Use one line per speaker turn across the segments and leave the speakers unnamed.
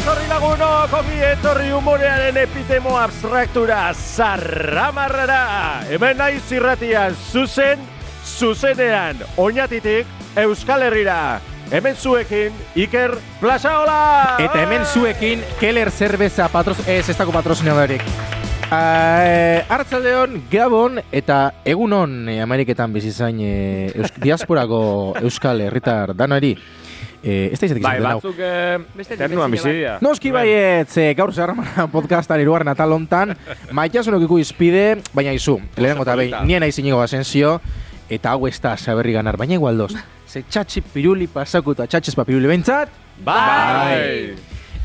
lagunok ongi etorri humorearen epitemo abstraktura zarramarrara. Hemen naiz irratian zuzen, zuzenean, oinatitik Euskal Herrira. Hemen zuekin, Iker Plazaola!
Eta hemen zuekin, Keller eh, Zerbeza patroz... Ez, ez dago patrozinadorek. Uh, Artzaldeon, Gabon eta egunon eh, Ameriketan bizi zain eh, Eus diasporako Euskal Herritar danari. Eh, ez da izatik
Bai,
izaten hau.
batzuk eh,
Bestetik
ternuan
bezala.
bizidia.
Noski baietz, eh, gaur zarramara podcastan iruaren atal hontan, maitasunok izpide, baina izu, lehenengo eta behin,
polita.
nien aiz inigo asensio, eta hau ez da saberri ganar, baina igual doz. Ze txatxi piruli pasako eta txatxez pa piruli behintzat,
Bai!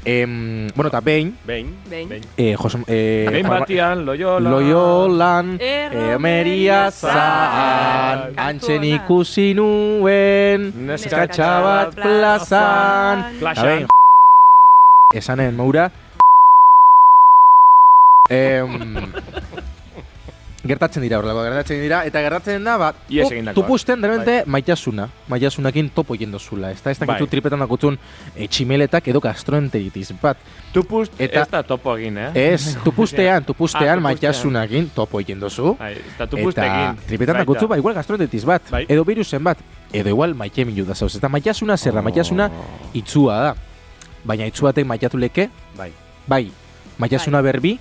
em, bueno, eta behin,
Behin.
Behin.
eh, Jose, eh,
Behin
Juan-
batian, loiola.
Loiolan,
Erromeria
emeria zaan,
zaan,
antxen ikusi nuen,
Neska
Neska
katxabat
txabat
plazan.
plazan.
Eta behin, esanen moura. Em, gertatzen dira horrelako, gertatzen dira, eta gertatzen da, ba,
Ihes
up,
egindakoak.
tupusten derbente maitasuna, maitasunakin topo egin dozula, ez da, ez dakitu
Bai.
tripetan dakutzun e, tximeletak edo gastroenteritiz bat.
Tupust,
Eta- E-
ez da topo egin, eh?
Ez, tupustean, tupustean
Ah, tupustean.
maitasunakin topo egin dozu.
Bai, Eta tupust
Eta
egin.
tripetan
Baita.
dakutzu, ba, igual gastroenteritis bat,
Bai.
edo virusen bat, edo igual maite minu da zauz. Eta maitasuna zerra, maitasuna
Oh.
Oh,
itzua da. Baina itzu batek maitatu leke,
Bai.
bai, maitasuna berbi,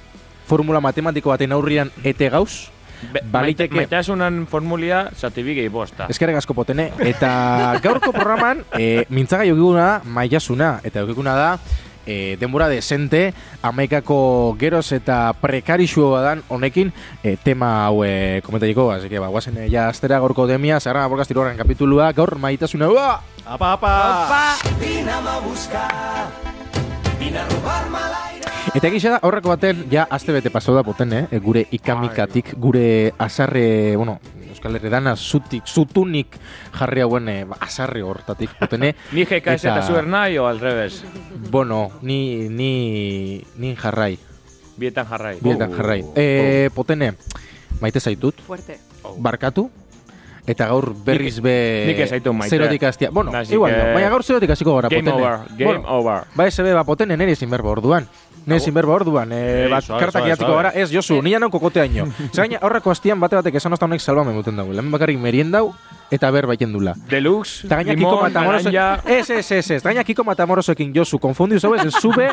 formula matematiko baten aurrian ete gauz,
Be,
Baliteke-
maite- Maitasunan formulia zatibigei bosta.
eskerrik asko potene, eta gaurko programan e, mintzaga jokiguna da maitasuna, eta jokiguna da e, denbora desente, amaikako geroz eta prekarixua badan honekin e, tema hau e, komentariko, así que ba, guazen e, ja astera gaurko demia, zaharra borgaz tiroaren kapitulua, gaur maitasuna, ua!
Apa, apa!
Eta egisa da, aurreko baten, ja, aste bete pasau da poten, eh? E, Gure ikamikatik, gure azarre, bueno, Euskal Herri dana zutik, zutunik jarri hauen eh, ba, azarre hortatik potene.
Ni GKS eta
Eta-
zuer nahi, o al revés?
Mm-hmm. Bueno, ni, ni, ni jarrai,
Bietan jarrai.
bietan
Uh,
jarrai.
oh.
E,
Oh.
potene, maite zaitut,
Fuerte.
barkatu, eta gaur berriz be...
nik ez zaitut maite.
Zerotik hastia. Bueno,
Nasi
igual, no,
que-
baina gaur zerotik hasiko gara,
Game
potene.
over, game
Bueno,
over.
Ba, ese beba potene nere ezin berba orduan. Nere ezin berba orduan, e,
Ei,
bat
suave,
kartak
suave,
idatiko
suave.
gara. Ez,
Eh.
Josu, nila nau kokoteaino. Zagaina, aurrako hastian bate batek esan osta honek salbame duten dago. Lehen bakarrik meriendau eta berba egiten dula.
Deluxe,
Eta gaina Kiko
limón,
Matamoros...
naranja...
Ez, ez, ez, ez. Gaina Kiko Matamorosoekin Josu, konfundiu zau ez, zube...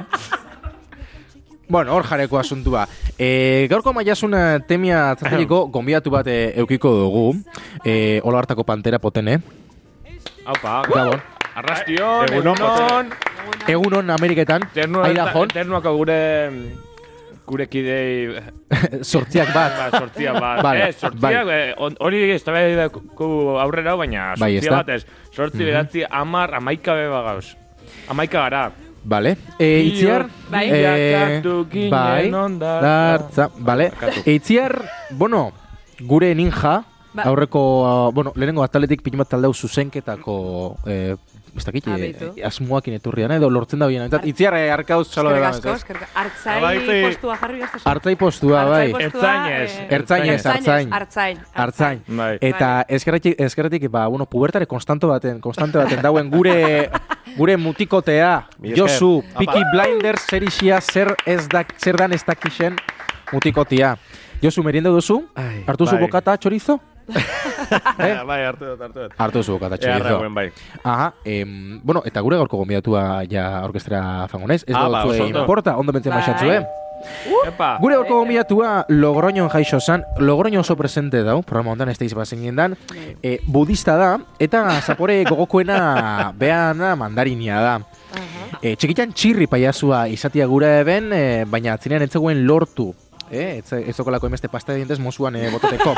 Bueno, hor jareko asuntua. E, gaurko maiasuna temia trajeliko gombiatu bat e, eukiko dugu. E, Ola hartako pantera potene.
Aupa,
Gabon.
Arrastion,
Egunon,
egunon,
pues, eh,
Egun hon Ameriketan,
ternuak eta-
Idajon,
ternuak gure gure kidei
sortziak bat.
ba, sortzia bat.
Vale,
eh, sortzia, eh, on- hori ez aurrera, baina
Bai,
sortzia
ezta? Mhm.
bat ez. Sortzi beratzi, amar, amaika beba gauz. Amaika gara.
Vale. E, itziar...
Bai.
eh,
Bilakatu ginen
bai,
ondartza.
dartza, Vale.
Barkatu.
E, itziar, bueno, gure ninja,
Ba-
aurreko, ah, bueno, lehenengo ataletik pinu bat taldeu zuzenketako... Eh, ez dakit, eh,
Abitu.
asmoakin etorrian, edo lortzen da bien. Itziar, eh, arkauz txalo
Eskerrik
da.
asko, eskerrik asko. Artzai
Bai,
Abaitzi.
postua jarri gazta.
Artzai postua,
Artzai
bai.
postua,
Ertzainez.
eh,
Ertzainez, artzain.
Artzain.
Artzain.
Bai.
Eta eskerretik, eskerretik, ba, bueno, pubertare konstanto baten, konstante baten dauen gure gure mutikotea,
Mila esker.
Josu,
Apa.
Piki Blinders zer isia, zer, ez da, zer dan ez dakixen mutikotia. Josu, merienda duzu?
Ai,
Hartu zu
bai.
bokata chorizo?
Eh, Bai, hartu dut, hartu dut.
Hartu zu bokata
Ea,
chorizo.
rauen, bai.
Aha, em, bueno, eta gure gaurko gombidatua ja orkestra fango naiz. Ez
Ah,
da
ba,
zuei
oso ondo.
importa, ondo bentzen
Bai.
maixatzu, eh?
Epa.
Gure gaurko gombidatua Logroñon jaixo zan, Logroño oso presente dau, programa ondan ez da izba zeinen dan, e, budista da, eta zapore gogokoena beana mandarinia da. E, txikitan txirri paiazua izatia gure eben, e, baina atzinean etzegoen lortu. E, ez, ez zokolako emeste pasta de dientes mozuan e, boteteko.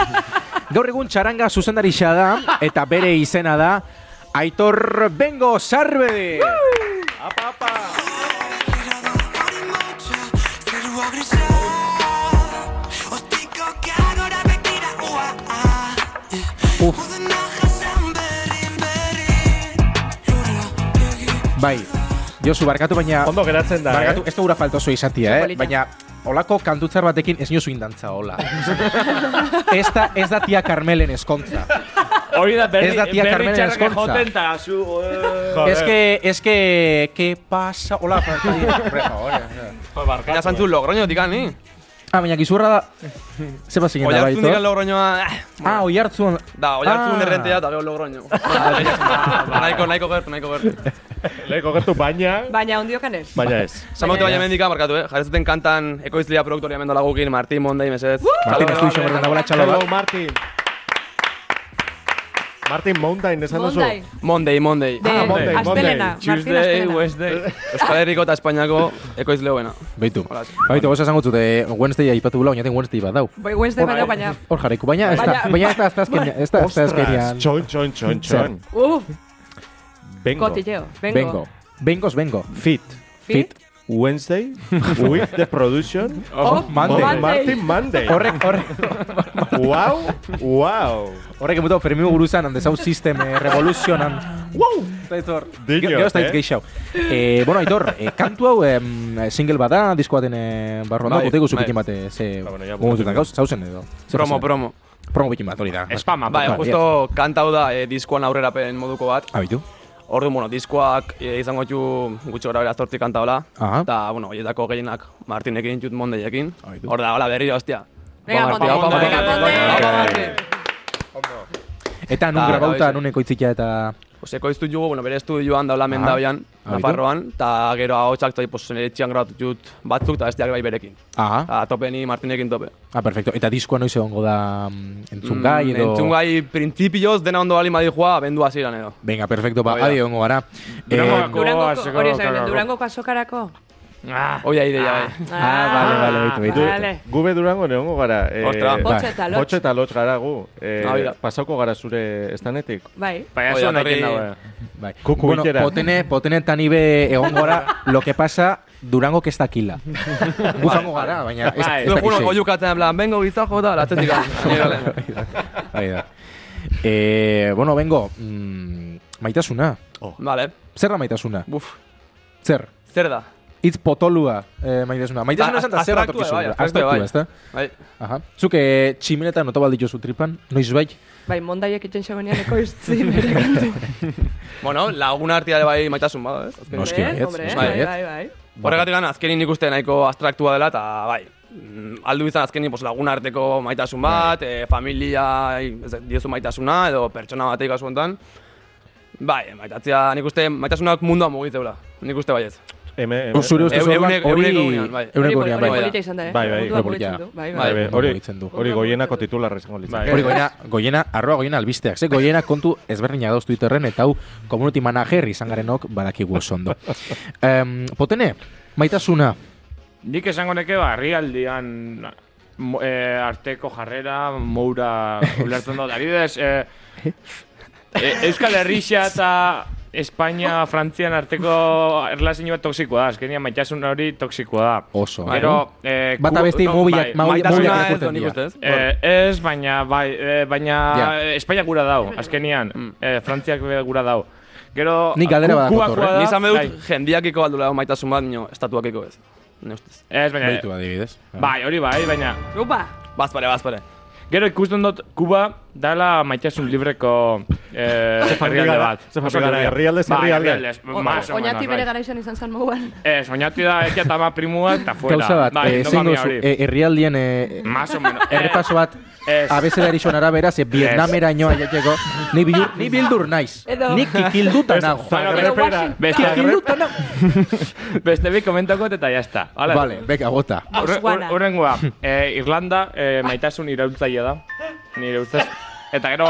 Gaur egun txaranga zuzendarixa da, eta bere izena da, Aitor Bengo Sarbede!
Apa, apa!
Zerua grisa Ostiko gagora begira ua ah, eh.
Uf.
Udena jasan berin berin Lura begi
Bai, Josu, barkatu baina...
Ondo geratzen da,
Barkatu,
eh?
ez da gura falta oso izatia, eh?
Txokolita.
Baina, olako kantutzar batekin ez niozu indantza, hola. ez, da, ez da tia Carmelen eskontza.
eh? Hori da berri,
Ez da tia
berri
Carmenen
txarrak
ezkontza.
joten eta zu... eh,
Es que, es que, ¿qué pasa? Hola,
jo, barkatu.
Baina zantzu logroño dikan, ni?
Ah, baina gizurra da... Ze bat zinen da
Oiartzun
baito?
dikan logroñoa... ah,
Ah,
bueno.
oiartzun...
Da, oiartzun
Ah.
errentea eta gero logroño. Naiko, naiko gertu, naiko gertu.
Lehiko gertu baina,
Baina ondiokan ez.
baina ez.
Zamaute baina mendika, markatu, eh? Jarrezuten kantan ekoizlia produktoria mendola gukin, Martin Mondei, mesedez.
Martin, ez du iso bertan dagoela txalo
Hello,
bat.
Martin. Martin Mountain, esan duzu.
Monday.
Monday, Monday.
De
Ah, Monday,
Astelena.
Monday.
Martin
Tuesday,
Astelena.
Wednesday...
Euskal Herriko eta Espainiako ekoizle hoena.
Beitu.
Hola.
Baitu, goza esango zute, Wednesday aipatu gula, oinaten Wednesday bat dau.
Bai, Wednesday baina baina.
Hor jarriko, baina ez da,
Baina-
baina ez da azkenian, ez da azkenian.
txon, txon, txon, txon.
Uf,
Bengo.
cotilleo.
Bengo.
Vengo.
Bengoz, bengo.
Fit.
Fit.
Wednesday with the production
Of
Monday.
of
Monday.
Martin Monday.
Horrek, horrek,
Wow, wow.
horrek emutau Fermi buruzan, hande zau system eh, revoluzionan. Wow! Zaitor.
Diot,
Gero ez daiz
eh?
geixau. Eh, bueno, Aitor, eh, kantu hau em, single bat da, diskoaten eh, barruan da,
Bai,
boteko zukin
bai.
bate, eh, ze
Ah, bueno, ja,
momentutan gauz, zauzen edo. Ze
Promo,
pasan?
promo.
Promo bikin bat, hori da.
Espama,
Bai,
Bai,
justo kantau da eh, diskoan aurrerapen moduko bat.
Abitu.
Orduan, bueno, diskoak eh, izango ditu gutxi gora bera zortzi kanta hola.
Aha.
Eta, bueno, horietako gehienak Martinekin ditut Mondeiekin.
Haidu.
Hor da, hola, berri hostia.
Venga,
Opa, Martin,
Monday,
opa, Martin,
venga,
opa,
Monday.
Martin, opa, Martin.
Eta nun
Da,
grabauta,
da,
nun ekoitzikia eta...
Pues ekoiztu dugu, bueno, bere estudioan daula
Aha.
mendabian,
Abitu.
Nafarroan, eta gero ahotsak tai pues nire etxean grabatu ditut batzuk eta besteak bai berekin.
Aha,
Eta tope ni Martinekin tope.
ah, perfecto. Eta diskoa noiz egongo da mm, entzungai edo...
Entzungai printzipioz dena ondo bali madijua abendu hasieran edo.
Venga, perfecto, ba,
Hoi da.
adi egongo gara. Eh,
Durangoko-
Durangoko,
Goaz,
hori
goaz,
esan,
goaz.
Durangoko azokarako.
Ah,
Oia ideia bai.
Ah, vale, vale, baitu, baitu.
Du,
Vale.
gube durango neongo gara. Eh,
Ostra.
Botxo eta lotx.
Botxo eta lotx gara gu. Eh,
Ah, oida.
pasauko gara zure estanetik.
Bai.
Payaso
Oia,
honekin
etorri-
dago.
Bai.
Kuku
bueno,
bilera.
potene, potene eta nibe egon gora, eh, lo que pasa, Durango que ez dakila. Guzango gara, baina este, ez,
Bai.
ez
Zue
dakixei.
juno oiukatzen, en plan, bengo gizajo da, latzetik gana.
Bai da. Eh, bueno, bengo, mm, maitasuna.
Vale,
Zer da maitasuna?
buf,
Zer?
zer da?
Itz potolua eh, maitasuna. Maitasuna
Ba,
esan da zer
abstraktua, bai,
datorkizuna. Abstraktua,
abstraktua, bai.
ezta?
Bai,
Aha. Zuk eh, tximeleta nota balditu tripan, noiz bai?
Bai, mondaiek itxen xabenean ekoiztzi bere kantu.
bueno, lagun artia ere bai maitasun bada, ez? Azken-
Noski
Eh,
baietz,
hombre,
noski
Bai,
baietz.
bai, bai.
Horregatik gana, azkenin ikusten nahiko abstraktua dela, eta bai, mm, aldu izan azkenin pues, lagun arteko maitasun bat, eh, familia, ez, dakit, diezu maitasuna, edo pertsona batek kasu honetan. Bai, maitatzea, nik uste, maitasunak mundua mugitzeula, nik uste baietz.
Eme, eme,
Zure ustez
Eu-
orduan
eunek-
hori...
euneko unian, bai.
Hori
Euneko
pol-
unian, bai.
hori
bai.
polita izan da, eh?
Bai, bai.
Mundua
Hori polita.
mugitzen du, Bai,
Bai,
bai.
bai, hori,
mugitzen du.
hori goienako titularra izango
Bai.
litzak.
Hori goiena, goiena, arroa goiena albisteak. Ze goiena kontu ezberdina dauz Twitterren, eta hau community manager izan garenok badakigu oso ondo. Em, potene, maitasuna.
Nik esango neke ba, herrialdian mo- eh, arteko jarrera, moura ulertzen dut. Adibidez, eh, eh, Euskal Herrixa eta Espainia, Frantzian arteko erlazio bat toksikoa da. Azkenia maitasun hori toksikoa da.
Oso. bai.
Gero, eh,
Bata
Kuba-
beste
no,
mobilak,
bai.
mau-
Maitasuna
mobilak
ez,
ikusten
nik
dira.
uste ez.
Eh, ez, baina, bai, eh, baina
Ja.
Espainia gura dau, azkenian. Eh, Frantziak be- gura dau. Gero,
Nik galdera
Ku-
bat
Kubakoa
dator, eh?
da,
Ni izan
bai.
behut, jendiakiko aldula maitasun bat, nio, estatuakiko ez. Ne ustez.
Ez, baina,
Beitu adibidez.
bai, hori bai, baina,
Upa!
Bazpare, bazpare.
Gero ikusten dut Kuba dala maitasun libreko eh, herrialde
gara-
bat.
ze familia
Oso
gara,
libre.
herrialdez
Bai,
herrialde.
herrialdez, más o menos,
Oñati
bai.
bere gara izan izan zan moguan.
Ez, oñati da ekia eta ama primua eta fuera.
Gauza bat,
bai,
eh, zein
endogamia
gozu,
hori.
eh, herrialdien eh,
Más o menos. Eh,
errepaso bat,
ez.
abezedari son arabera, ze eh, Vietnamera inoa jateko, ni, bilur, ni bildur naiz.
Edo-
Ni kikilduta nago.
Washington-
Beste,
Kikilduta nago.
beste bi komentako eta ya está. Hala.
Vale, beka, bota.
Horre-
Botswana.
hor- Horrengoa, eh, Irlanda eh, maitasun irautzailea da. Nire ustez. Eta gero,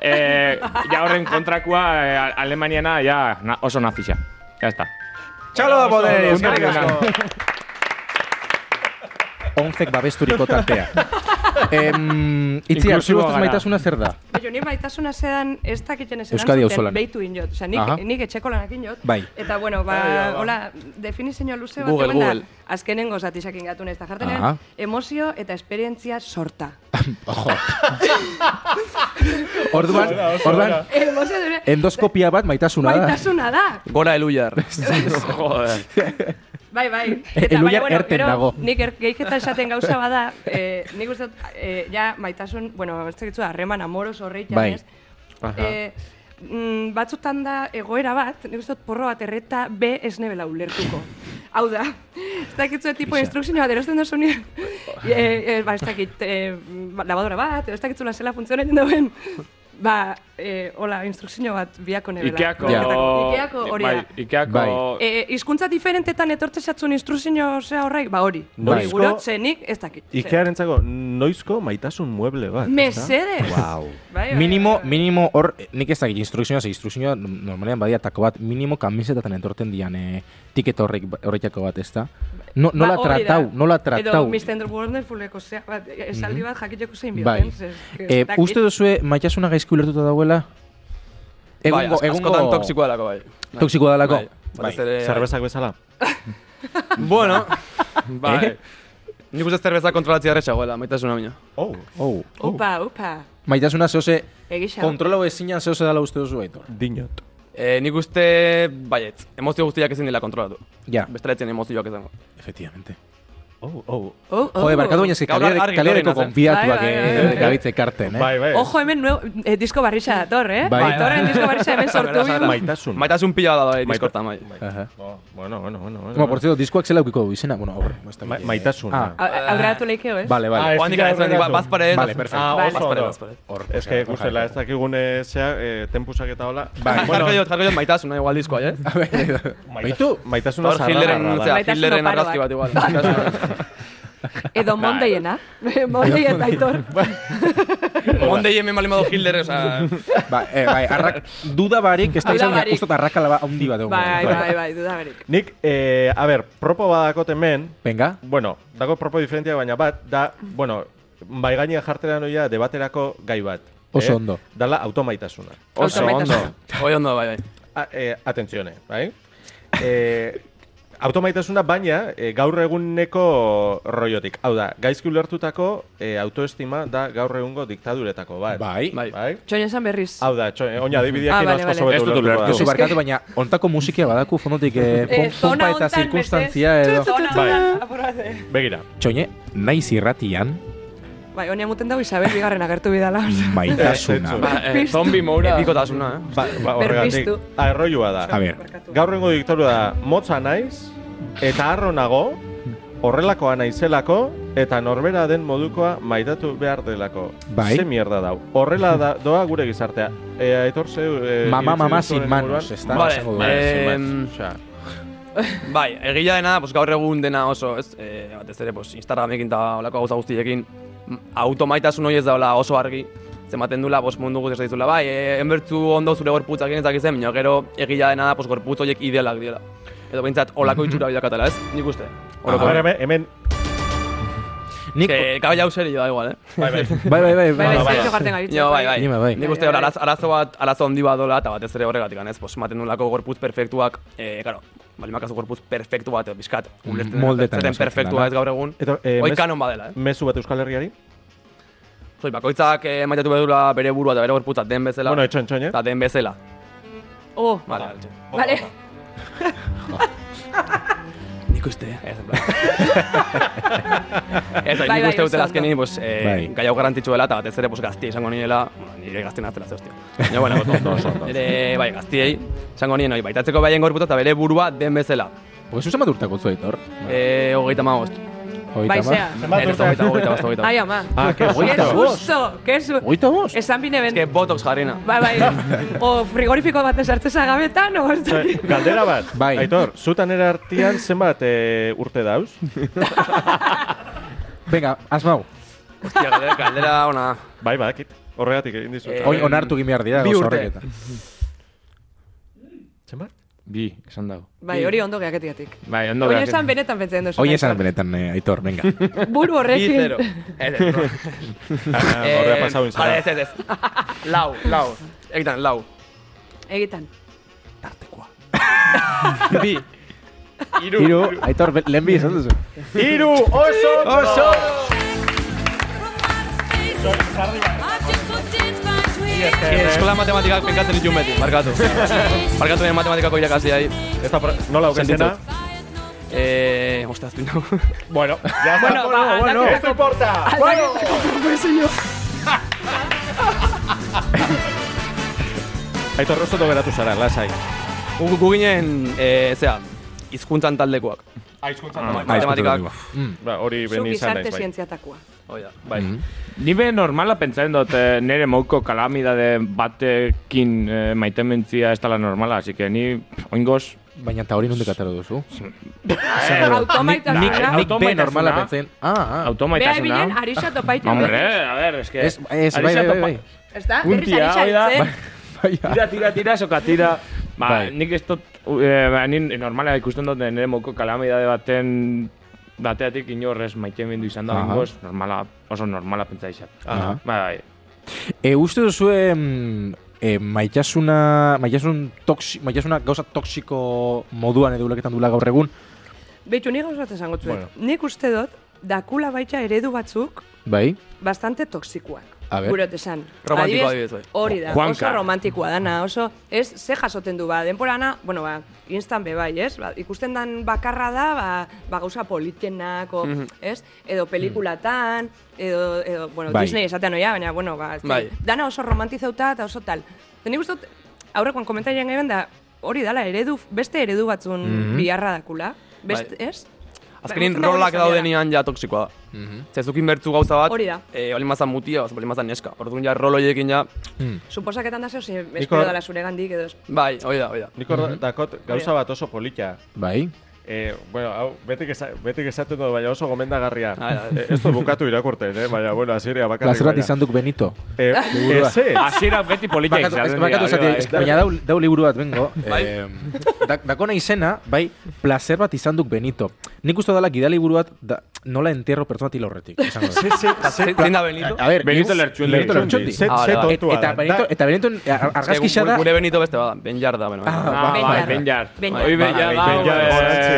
eh, ja horren kontrakoa eh, Alemaniana ja na, oso nazixa. Ya está.
Txalo da poder,
Eh, eskerrik asko.
Onzek babesturiko tartea. Em, Itziar, zure
Inklusiboa
ustez
gara.
maitasuna zer da?
Baina ni maitasuna zedan ez dakiten ez
Euskadi
erantzuten,
auzolan.
Beitu inot, osea,
Aha.
nik, nik etxeko lanak inot.
Bai.
Eta bueno, ba, hola, definizio luze bat
Google,
egon da,
Google.
azkenengo zatisakin gatu nez, eta jartzen
Aha.
nuen, emozio eta esperientzia sorta.
Ojo. orduan, orduan,
emozio eta
endoskopia bat maitasuna da.
maitasuna da.
Gora eluiar.
Joder.
Bai, bai.
Elhuyar erten dago.
Nik er, gehiketan esaten gauza bada, eh, nik uste dut, eh, ja, maitasun, bueno, ez dakitzu, harreman amoros horreitan
Bai.
ez,
Aha.
E, mm, batzutan da egoera bat, nik uste dut porro bat erreta B esne bela ulertuko. Hau da, ez dakitzu tipo instrukzio bat erosten duzu nien, e, e, ba, ez dakit, e, ba, lavadora bat, edo ez dakitzu zela funtzionen duen, ba, e, hola, instrukzio bat biako nebela.
Ikeako...
Ikeako hori da.
Bai, Ikeako...
Bai.
Bai.
E, hizkuntza diferentetan etortze zatzun instrukzio zea horrek, ba hori.
Bai.
Hori gurotzenik ez dakit.
Ikearentzako noizko maitasun mueble bat. ezta?
Mesedes.
Guau.
Bai, bai,
Minimo,
bai, bai.
minimo hor, eh, nik ez dakit instrukzioa, ze instrukzioa normalean badia tako bat, minimo kamisetatan entorten dian eh, tiket horrek, horretako bat, ez da? No,
Ba,
nola
hori da.
tratau, nola tratau.
Edo Mr. Wonderfuleko zea, bat, esaldi bat jakiteko zein
Bai.
bioten.
Eh, uste duzue maitasuna gaizki ulertuta dauela?
bai, az- askotan toksikoa delako, bai. bai.
Toksikoa delako?
Bai. batez ere-
Zerbezak bezala.
Bueno,
bai.
nik uste zerbeza kontrolatzea erretxa goela, maitasuna baina.
Oh.
Oh.
Opa, opa.
Maitasuna zehose,
Egisa.
kontrolau ezinan zehose dela uste duzu aitor.
Dinot.
E, nik uste, baiet, emozio guztiak ezin dela kontrolatu.
Ja, Hmm.
Bestela etzen emozioak izango.
efectivamente.
Oh, oh.
Oh, oh,
Jode,
oh.
barkatu baina ez
Gaur
kalere,
argi
kalereko
etorri naizen.
konfiatuak
Bai, bai, bai, bai.
eh, gabitze karten, eh?
Bai, bai.
Ojo, hemen nuevo, eh, disko barrixa dator, eh?
Bai.
Aitorren disko barrixa hemen sortu bigu.
Maitasun.
Maitasun pila bat da, bai, diskorta, bai.
Aha.
Oh, bueno, bueno, bueno. bueno.
Bueno, por cierto, diskoak zela ukiko du izena, bueno, aurre. ez dakit,
Ma-
eh.
maitasun.
Ah,
A- Aurreratu eh? leikeo, ez?
Vale,
Ah,
vale.
ez dira
Oan dikara ezan dikara,
aurreratu.
bat parez.
Vale, perfecto.
Ah,
Vale.
oso
Bazpare,
ondo.
bazpare.
Hor,
Es
o
que,
sea,
guztela, ez dakigune zea, eh, tempusak eta hola.
Bai,
bueno,
jarko diot, jarko diot maitasuna igual diskoa, eh?
A ver, Baitu?
maitasuna
Hor Hitlerren,
zarragarra da.
zera,
Maitasuna
Hitlerren
oparoak.
argazki bat igual. Maitasuna.
Edo Mondeiena.
Bai.
Mondei eta Aitor.
Mondei hemen balima du Hitler, oza...
Ba, eh, bai, arrak, duda barik, ez da
Duda
izan,
barik.
uste dut arrakala ba, handi bat egongo
Bai,
dela.
bai, bai, duda berik.
Nik, eh, a ber, propo badakot hemen,
Venga.
bueno, dago propo diferentia, baina bat, da, bueno, bai gainean jartera noia debaterako gai bat. eh?
Oso ondo.
Dala automaitasuna.
Oso Automaitasuna. ondo.
Hoi ondo, bai, bai.
A, eh, atentzione, bai? Eh, automaitasuna baina eh, gaur eguneko rollotik. Hau da, gaizki ulertutako eh, autoestima da gaur egungo diktaduretako bat.
Bai.
Bai.
Bai?
Txoin esan berriz.
Hau da, txo, eh, oina
Ah,
adibideak
bale,
asko
bale.
sobetu
Ez dut ulertu.
Josu
dugu.
barkatu, baina ontako musikia badaku fondotik eh,
Eh,
pom- pompa eta
hontan,
zirkunstantzia
berez.
edo.
Tu, tu, tu, tu,
Bai.
apur bat, eh.
Begira,
Txoine, naiz irratian,
Bai, honi amuten dago Isabel bigarren agertu bidala.
maitasuna.
Ba,
Piztu.
Zombi Eh, moura. Epikotasuna, eh?
ba, ba, horregatik,
Berpiztu.
arroioa da.
A ver,
Gaurrengo diktatua da motza naiz eta arro nago horrelakoa naizelako eta norbera den modukoa maitatu behar delako.
Bai.
Ze mierda dau. Horrela da, doa gure gizartea. E, aitor zeu... E,
Mama,
iritzi duzu Ah,
mama sin
honen
manos,
inguruan?
ez da,
Vale,
esango du.
vale.
Bai, Sin
Em,
manos, osea,
Bai, egia dena, pues, gaur egun dena oso, ez, e, batez ere, pues, Instagramekin eta olako gauza guztiekin, m, automaitasun hori ez daula oso argi, zematen dula, pues, mundu guzti ez dizula, bai, e, enbertzu ondo zure gorputzakin ez dakizen, baina gero egia dena da, pues, gorputz horiek idealak dira. Edo behintzat, olako itxura bidakatela, ez? Nik uste.
A
Horoko.
ver, hemen, hemen
Ah, bai, Nik,
Que kabela hau serio da igual, eh?
bai, bai.
bai, bai, bai,
Bai,
bai.
bai,
bai.
zailo jarten gabiltza,
Nio, bai, bai.
Ni, bai.
Nik uste hor, arazo, arazo bat, arazo handi bat dola, eta batez ere horregatik, ez? Pues, maten dulako gorputz perfektuak, e, karo, balimakazu gorputz perfektu bat, bizkat, ulertzen.
Moldetan
Zaten
osatzen
perfektua
dana.
ez gaur egun.
Eta, eh,
Hoi
mes-
kanon badela, eh?
Mezu bat Euskal Herriari?
Zoi, bakoitzak eh, maitatu bedula bere burua eta bere gorputza den bezala.
Bueno, etxon, etxon, eh?
Eta den bezala.
Oh,
Vale, vale.
vale.
Nik uste. Ez, en plan. ez,
Bai,
nik
bai, oso
uste dutela azkenin,
ondo.
pues, eh,
Bai.
gai hau garantitxu dela, eta batez ere, pues, gaztia izango niela, bueno, nire gaztien atzela zehostia. Baina, bueno, oso, oso. Nire, bai, gaztiei, izango nien, hori, baitatzeko baien gorputza eta bere burua den bezala.
Bai.
Porque zuzen bat urtako zu aitor.
Eh, hogeita magoz.
Hogeita
Bai,
hamar.
zea.
Ez, ez, hogeita, hogeita, bost, hogeita.
Ai,
bost.
ama.
Ah, que
Qué
hogeita bost.
susto, qué susto.
Hogeita bost?
Esan bine ben.
Ez que botox jarrina.
Bai, bai. O frigorifiko baten sartzeza gabetan, o ez dakit.
Galdera bat.
Bai.
Aitor, zutan era artian zenbat eh, urte dauz?
Venga, asmau.
Hostia, galdera- galdera ona.
Bai, badakit. Horregatik egin dizut.
Eh,
Oin onartu egin behar dira,
bi
gauza
urte.
horrek eta.
Zenbat?
Bi, esan dago.
Bai, hori ondo geaketiatik.
Bai, ondo
Oin
behar-
esan benetan pentsatzen duzu.
Oin esan benetan, eh, aitor, venga.
Buru
Bi
horrekin.
zero. Ez, ez, no.
Ah,
Eh,
Horrea pasau
jale,
inzara.
Ez, ez, ez. Lau, lau. Egitan, lau.
Egitan.
Tartekoa. Bi. Iru.
Hiru, aitor, be- lehen bi esan duzu.
Iru, oso! Oso!
Eh, Eskola matematikak penkatzen dituen beti, markatu. markatu nire matematikako irakasiai.
Esta pro- nola
Sentitu.
aukazena?
Eh, ostras, tu no.
Bueno, ya está.
Bueno, ba, aldaketako-
importa.
aldaketako proposio.
Aitor rostoto geratu zara, lasai.
Gu, gu ginen, e, zera, hizkuntzan taldekoak.
Aizkuntzan.
Matematikak.
Mm.
Oh,
Ba, hori
Zu
beni izan
gizarte
naiz, bai.
zientziatakoa.
Hoi da.
Bai.
Nibe normala pentsatzen dut eh, nire mouko kalamidade batekin eh, maitementzia ez dela normala, así que ni oingoz...
Baina eta hori nondik atera duzu?
Nik-
Automaitasuna.
nik-
Nik be
Automaitasuna.
normala pentsen. Ah, ah.
Bea
Automaitasuna.
ebilen, arisa topaitu.
Hombre, a ver, es que...
Ez, ez, bai,
Arisa
bai, bai,
topa-
bai.
Ez da, berriz
Puntia,
arisa
hoi da.
etzen.
Tira, tira, tira, soka tira. Ba,
Bai.
nik ez dut, eh, ba, ni normala ikusten dut nire moko kalamidade baten bateatik inorrez maite mendu izan da,
Aha.
bingoz, normala, oso normala pentsa izan.
Aha.
Bai, bai.
E, uste duzu em, e, maitasuna, maitasun toksi, maitasuna gauza toksiko moduan edo uleketan dula gaur egun.
Beitu, nik gauzatzen zango
Bueno.
Nik uste dut, dakula baita eredu batzuk
Bai.
bastante toksikoak.
A ber.
Gure esan. Adibidez,
Romantikoa adibidez, bai.
Hori da,
Juanca.
oso romantikoa dana, oso, ez, ze jasoten du, ba, denporana, bueno, ba, instan be bai, ez, ba, ikusten dan bakarra da, ba, ba gauza politenak, o,
Mhm.
ez, edo pelikulatan, edo, edo bueno,
Bai.
Disney esatean oia, baina, bueno, ba, ez dakit.
Bai.
dana oso romantizauta eta oso tal. Eta nik uste dut, aurrekoan komentarian geben da, hori dala, eredu, beste eredu batzun biharra dakula, beste,
Bai.
ez?
Azkenin
Ba, ematen da
rolak
hori izan dela.
daudenean ja toksikoa da.
Mhm.
Zezukin bertzu gauza bat,
Hori da.
eh, olin bazan mutia, oz, olin bazan neska. Orduan ja roloiekin ja,
Suposaketan da zeo, ze espero dala zure gandik, edo,
bai, hoi da, hoi da.
Nik hor dakot gauza bat oso polita.
Bai.
Eh, bueno, hau, betik, esa, betik esaten dut, baina oso gomendagarria.
Ai, ai.
Eh, ez dut bukatu irakurten, eh? baina, bueno, azirea bakarrik.
Lazurat
baina.
izan duk Benito.
Eh, eze,
Hasiera beti polita
Bakatu,
izaten
ez-
dira,
bakatu
hori
zati,
bai.
ez- baina dau, dau liburu bat bengo.
Bai.
eh, da, dakona izena, bai, placer bat izan duk Benito. Nik uste dala gida liburu bat, da, nola entierro pertsona tila horretik. esango dut.
Ze- Zein da Benito?
A ber,
Benito
nik-
Lertxundi.
Benito Lertxundi.
Ze,
Ah,
ze
vale, vale.
Et-
tontua
Eta
da.
eh, Benito, eta Benito eh, argazkixa
Gu-
da.
Gure Benito beste bada, Ben Jarda, bueno.
Ah,
Ah,
Ah, bai,
Benjar.
Benjar.
Benjar.
Oi, Benjar,
Bai,
bai,
Benjar,
bai.
gorantziak.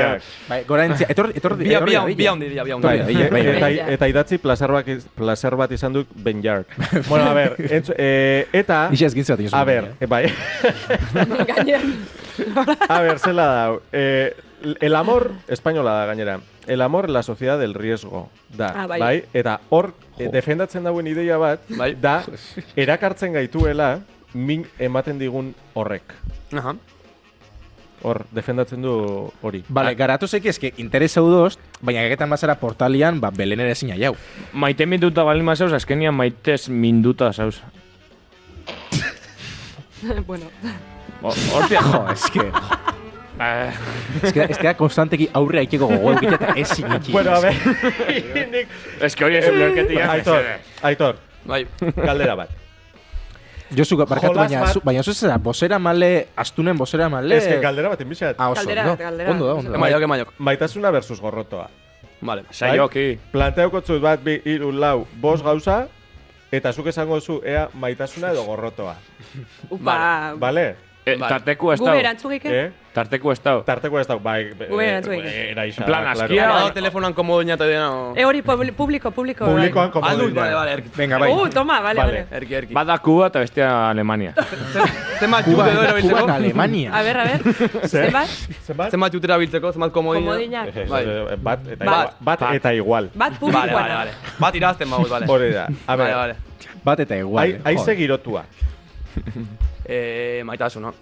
Bai, gorantzia, etor, etor, etorri
Bia, bia,
da bila.
bia hundi, bia, bia
Bai,
hundi.
bai, bai, bai.
Eta,
Benjar.
eta idatzi plazer bat, plazer bat izan duk Benjar. bueno, a ver, entzu, eh, eta...
Ixa ezkintza bat diozu.
A ver, eh, bai.
Gainean.
A ver, zela da. Eh, el amor, espainola da gainera. El amor en la sociedad del riesgo. Da,
Ah, bai.
Eta hor, eh, defendatzen dauen ideia bat,
Bai.
da, erakartzen gaituela, min ematen digun horrek.
Aha.
Hor, defendatzen du hori.
Bale, garatu zeki eske interesa udoz, baina geketan bazara portalian, ba, belen ere zina jau.
Maite minduta balin mazeuz, azkenian maitez minduta zauz.
bueno,
Hortia,
Jo, eske,
Eh,
eske, eske da konstanteki aurre aikeko gogo eukita eta ez zineki.
Bueno, a ver,
ez que hori ez ulerketia.
Aitor, Aitor,
Bai,
galdera bat.
Josu, barkatu,
Jolas
baina,
bat-
zu, baina zu zera, bosera male, astunen bosera male...
Ez que galdera bat inbixat.
Ah, oso,
Galdera,
no?
galdera.
Ondo da, ondo da.
emaiok, emaiok.
Maitasuna versus gorrotoa.
Vale.
Saioki.
Planteaukotzut bat, bi, iru, lau, bos gauza, eta zuk esango zu ea maitasuna edo gorrotoa.
upa,
Bale?
Eh,
Bai.
Tarteku ez
Gube
dau.
erantzugik ez?
Eh?
Tarteku ez dau.
Tarteko ez dago, bai, be-
Gure erantzuekin.
eh, eraixa.
En plan,
da, claro.
askia.
Bada telefonoan komodo inata dena. o-
E hori publi- publiko, publiko. bai.
Publikoan komodo
Aldut,
dira.
vale, vale, erki.
Venga, bai.
Uh, toma, vale,
Vale.
vale.
Erki, erki. Este
Bada Kuba eta bestia Alemania.
Zenbat
Kuba,
jute dora
Kuba eta
biltzeko?
A
Alemania.
ver, a ver.
Zer?
Zenbat?
Zenbat?
Zenbat jutera biltzeko, zenbat komodina.
Komodinak.
Eh,
Bai.
eh, Bat eta
Bat.
igual. Bat eta igual.
Bat
Vale, vale,
publikoan.
vale. Bat irazten bagoz, este vale.
Hori da. A
Vale,
ber,
vale.
Bat eta igual.
ai- aize girotua.
Eh, maitasuna.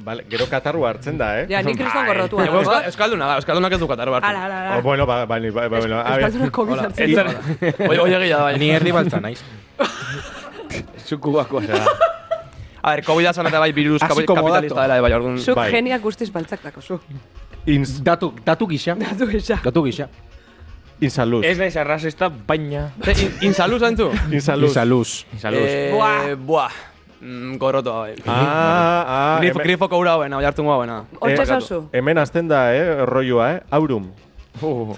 Vale, gero katarrua hartzen da, eh?
Ja, nik kriston
Bai.
gorrotua.
Ego euska- Euskalduna da, Euskaldunak ez dukatar bat.
Ala, ala,
Oh,
ala.
bueno, ba, ba, ni- ba, ba, bueno, a ber.
Euskaldunak COVID hartzen.
Etzar,
Oie, oie gila, bai.
Ni erdi baltza naiz.
zu Kubako zara.
A ber, COVID-a zan eta bai virus
Así
kapi-
como
kapitalista
dato.
dela, bai, orduan.
Zuk
Bai.
geniak guztiz baltzak dakozu.
Ins-
Datu, datu gisa.
Datu gisa.
Datu gisa.
Insaluz.
Ez naiz arrasista, baina...
Ze, Eh, in- Insaluz, zantzu?
Insaluz.
Lisa luz. Eh,
Saluz.
Buah.
Eh, Buah. Mm, Gorrotoa, bai.
Ah, ah,
Grif,
hemen-
grifoko ura hoena, oi hartu goa hoena.
Hortxe
Eh,
zauzu.
Hemen azten da, eh, rolloa, eh? Aurum.
Uh,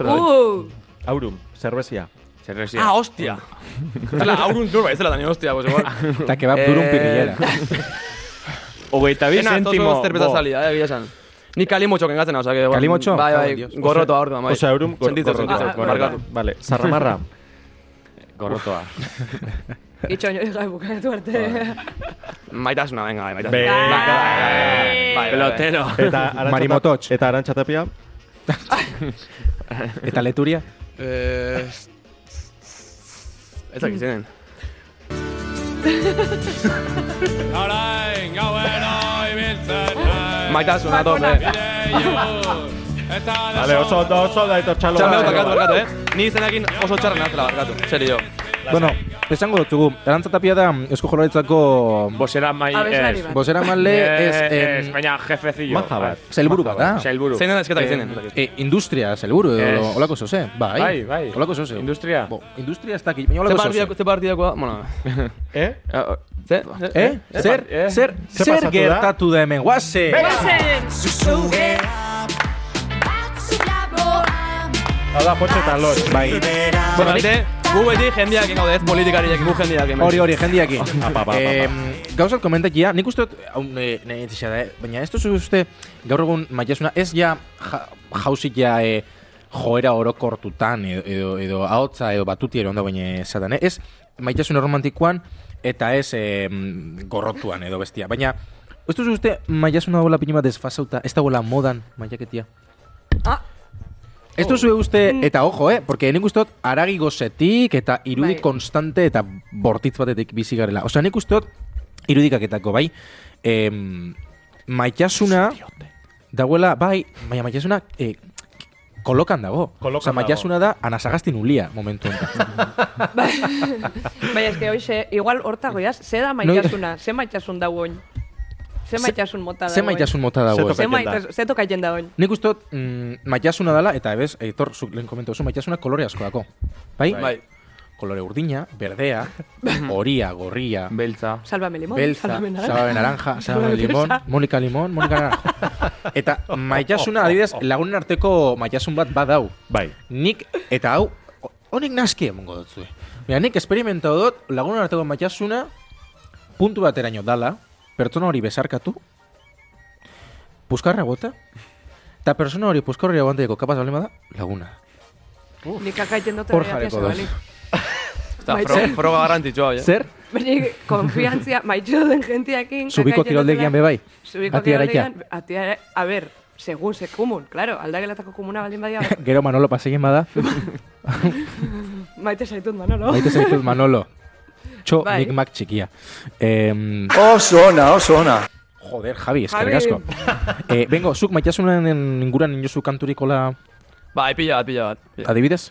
Aurum, zerbezia.
Zerrezia.
Ah, hostia. Zela, aurun turba, ez zela dani, hostia, pues igual.
Eta kebab durun
Eh,
pirrillera.
Hogeita bi
Ena,
zentimo.
zozo zerbeza
bo.
salida, eh, bila esan. Ni kalimotxo kengatzen hau, sake.
Kalimotxo?
Bai,
Oh,
bai,
Dios.
gorrotoa orduan, bai.
Osa, aurum, gor-
Sentitzen,
gorrotoa.
sentitzen,
Ah, gorrotoa.
barkatu.
Vale, zarramarra.
Gorrotoa.
itxo nio ega bukatu arte.
Maitasuna, venga, bai, maitasuna.
Be-
Bai, bai, bai.
Pelotero.
Eta Arantxa-
Marimotots.
Eta arantxatapia.
Eta leturia?
Ez dakit zenen.
Orain, gauen!
Maitasuna tope.
Vale, oso ondo, oso da etor txalo.
Txarra barkatu, barkatu, eh? Ni izenakin oso txarra nazela barkatu, serio.
Bueno, esango dutugu, Arantza Tapia da Eusko Jaurlaritzako
Bosera Pues mai...
Abeslari bat.
bozera male
Eh,
ez,
Ez,
em,
baina jefecillo.
Maja bat.
Sailburu bat da.
Sailburu.
Zein da esketak izenen?
eh,
E, industria, zelburu, edo
Ez.
olako zoze. Bai,
Bai, bai.
Olako zoze.
Industria.
Bo, industria ez dakit, baina
Ze
olako zoze.
partidako, ze partidako da, bueno. oh,
Eh?
Ze?
Eh? Zer,
Eh?
zer,
Ze
zer
pasatu da?
gertatu da hemen, guazen!
Hau da, potxe eta los.
Bai,
Eh, Bueno, bete, gu beti jendeak gaude ez politikariak, gu jendeak hemen.
hori hori, jendiaki.
Apa, apa,
eh, gauzat komentakia, nik uste dut, hau, ne, ne, etxea da, eh? baina ez duzu uste, gaur egun maitasuna, ez ja, ja jauzik ja, eh, joera orokortutan, edo, edo, edo ahotza, edo batutiero ondo baina esaten, eh? ez maitasuna romantikoan, eta ez eh, mm, gorrotuan, edo bestia, baina, ez duzu uste, maitasuna dagoela pini bat desfasauta, ez dagoela modan maiaketia.
Ah,
Ez duzu uste, eta ojo, eh? Porque nik uste dut aragi gozetik eta irudi
Bai.
konstante eta bortitz batetik bizi garela. Osea, nik uste dut irudikaketako, bai, em, maitasuna dagoela, bai, baina maitasuna eh, kolokan dago.
Kolokan
Osea, maitasuna da anasagaztin ulia momentu honetan.
Baina eske Bai, hoxe, igual horta goiaz, ze da maitasuna, ze maitasun da oin. Ze maitasun mota da
Ze maitasun mota dago.
Ze
Ze
tokatzen da.
maitas- ze tokatzen da oin.
Nik uste dut mm, maitasuna dela, eta ebez, eitor, zuk lehen komentu duzu, maitasuna kolore asko dako. Bai?
Bai.
Kolore urdina, berdea, horia, gorria,
Beltza.
Salvame limón,
Belza,
salvame naranja.
Sababe Naranja, Sababe
Salvame
Limón,
Belza.
Mónica Limón, Mónica Naranja. Eta maitasuna, adibidez, lagunen arteko maitasun bat badau.
Bai.
Nik, eta hau, honek naski emongo dutzue. Mira, nik esperimentau dut, lagunen arteko maitasuna, puntu bateraino dala, pertsona hori besarkatu, puskarra bota, eta pertsona hori puskarra guanteko kapaz balema da, laguna.
Nik akaiten dut
Hor
ere atia
jarriko da.
zabalik.
Eta
Bai,
fro,
zer?
froga garrantzitsua, bai, eh?
Zer?
Baina konfiantzia maitxo den jentiakin...
Zubiko kiroldegian bai. bebai.
Zubiko
Atia eraika.
kiroldegian, atia ere, a ber, segun ze komun, claro, aldagelatako komuna baldin badia,
Gero Manolo paseien bada,
maite zaitun Manolo.
baita zaitut Manolo. Txo,
Bai.
nik mak txikia. Em,
Oso ona, oso ona.
Joder, Javi, eskerrik asko. eh, bengo, zuk maitasunen inguran inozu kanturikola
Bai, pila bat, pila bat. Pila.
adibidez?